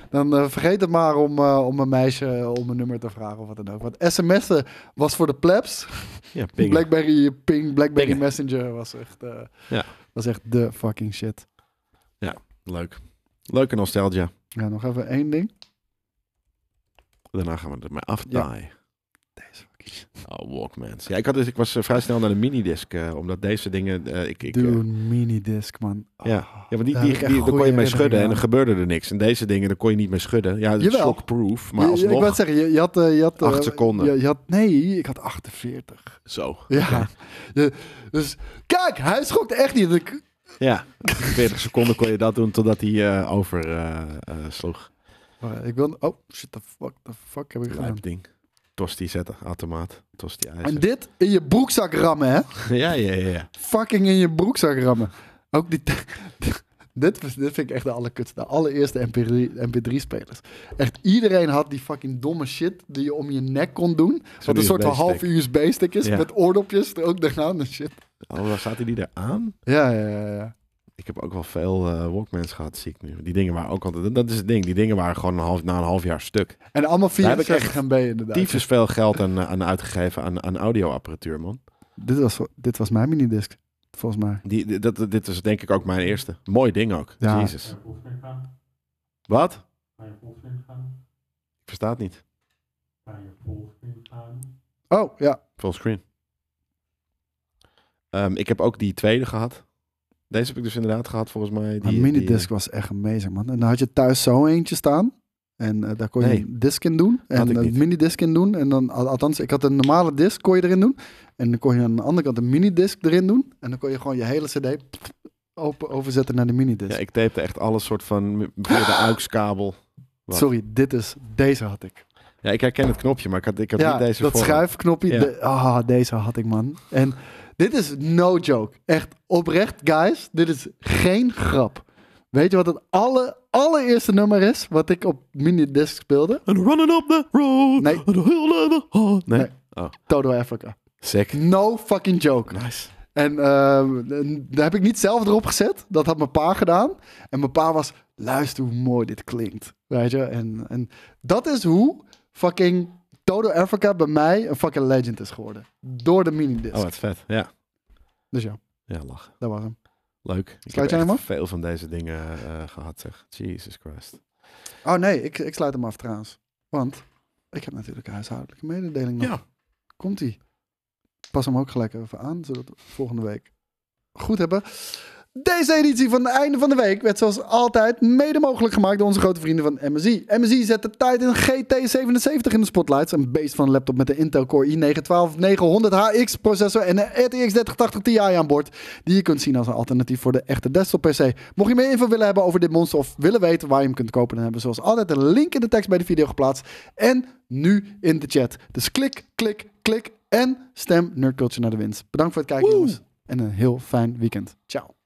Dan eh, vergeet het maar om, eh, om een meisje eh, om een nummer te vragen of wat dan ook. Want sms'en was voor de plebs.
Ja, ping.
Blackberry Ping, Blackberry
Pingen.
Messenger was echt, eh,
Ja.
was echt de fucking shit.
Leuk. Leuke nostalgia.
Ja, nog even één ding.
Daarna gaan we ermee aftaaien.
Deze. kiezen.
Oh, Walkmans. Ja, ik, had dus, ik was eh, vrij snel naar de minidisc, eh, omdat deze dingen... eh, ik, ik, eh,
Dude, minidisc, man. Oh,
ja. ja, want die,
daar
die, die,
heb ik echt
daar kon
goede
je mee schudden en
herinneringen
dan gebeurde er niks. En deze dingen, daar kon je niet mee schudden. Ja, dat is
Jawel.
shockproof, maar
Ja, Ik wou
alsnog...
het zeggen, je, je had... eh, je had eh,
Acht seconden.
Je, je had, nee, ik had 48.
Zo.
Ja. Je- dus kijk, hij schokt echt niet. Ik-
Ja, 40 seconden kon je dat doen totdat hij eh, over eh, eh, sloeg.
Maar ik wil... Oh, shit, the fuck, the fuck heb ik gedaan?
Lijp ding. Tosti zetten, automaat. Tosti
En
ijzer.
dit in je broekzak rammen, hè?
Ja, ja, ja, ja.
Fucking in je broekzak rammen. Ook die... dit, was- dit vind ik echt de allerkutste. De allereerste MP3-spelers. Echt iedereen had die fucking domme shit die je om je nek kon doen. Wat een soort van
USB-stick.
half USB-stick is.
Ja.
Met oordopjes er ook daarna en shit.
Oh, zaten die er aan?
Ja, ja, ja, ja.
Ik heb ook wel veel eh, Walkmans gehad, zie ik nu. Die dingen waren ook altijd... Dat is het ding. Die dingen waren gewoon een half, na een half jaar stuk.
En allemaal
heb ik
64 MB inderdaad.
Tyfus veel geld aan, eh, aan uitgegeven aan, aan audioapparatuur, man.
Dit was, dit was mijn minidisc, volgens mij.
Die, die- dat, dit is denk ik ook mijn eerste. Mooi ding ook.
Ja.
Jezus. Wat? Ik versta het niet.
Oh, ja.
Fullscreen. Ehm ik heb ook die tweede gehad. Deze heb ik dus inderdaad gehad, volgens mij. Die,
Die,
die,
minidisc
eh,
was echt amazing, man. En dan had je thuis zo eentje staan. En eh, daar kon je
Nee.
een disc in doen. En
ik
een
niet.
minidisc in doen. En dan, al- althans, ik had een normale disc, kon je erin doen. En dan kon je aan de andere kant een minidisc erin doen. En dan kon je gewoon je hele cd open, overzetten naar de minidisc.
ja, ik tapte echt alles soort van m- via de AUX-kabel. wat?
Sorry, dit is... Deze had ik.
Ja, ik herken het knopje, maar ik had, ik had
Ja,
niet deze
dat
voor.
schuifknopje.
Ja.
de- ah, deze had ik, man. En dit is no joke. Echt oprecht, guys. Dit is geen grap. Weet je wat het alle, allereerste nummer is wat ik op minidisc speelde?
And running up the road.
Nee.
and hill of the- oh, nee.
Nee.
Oh,
Toto Africa.
sick.
No fucking joke.
Nice.
En ehm, en daar heb ik niet zelf erop gezet. Dat had mijn pa gedaan. En mijn pa was, luister hoe mooi dit klinkt. Weet je? En, en dat is hoe fucking Toto Africa bij mij een fucking legend is geworden. Door de minidisc.
Oh, wat vet. Ja.
Dus ja,
Ja, lachen.
dat was hem.
Leuk. Ik
Sluit jij
heb
hem
echt
af?
veel van deze dingen eh, gehad, zeg. Jesus Christ.
Oh nee, ik, ik sluit hem af trouwens. Want ik heb natuurlijk een huishoudelijke mededeling nog.
Ja.
Komt ie. Pas hem ook gelijk even aan, zodat we volgende week goed hebben. Deze editie van het einde van de week werd zoals altijd mede mogelijk gemaakt door onze grote vrienden van MSI. MSI zet de Titan GT77 in de spotlights. Een beest van een laptop met de Intel Core i9-12900HX processor en een RTX 3080 Ti aan boord. Die je kunt zien als een alternatief voor de echte desktop PC. Mocht je meer info willen hebben over dit monster of willen weten waar je hem kunt kopen, dan hebben we zoals altijd een link in de tekst bij de video geplaatst. En nu in de chat. Dus klik, klik, klik en stem Nerd Culture naar de winst. Bedankt voor het kijken jongens en een heel fijn weekend. Ciao.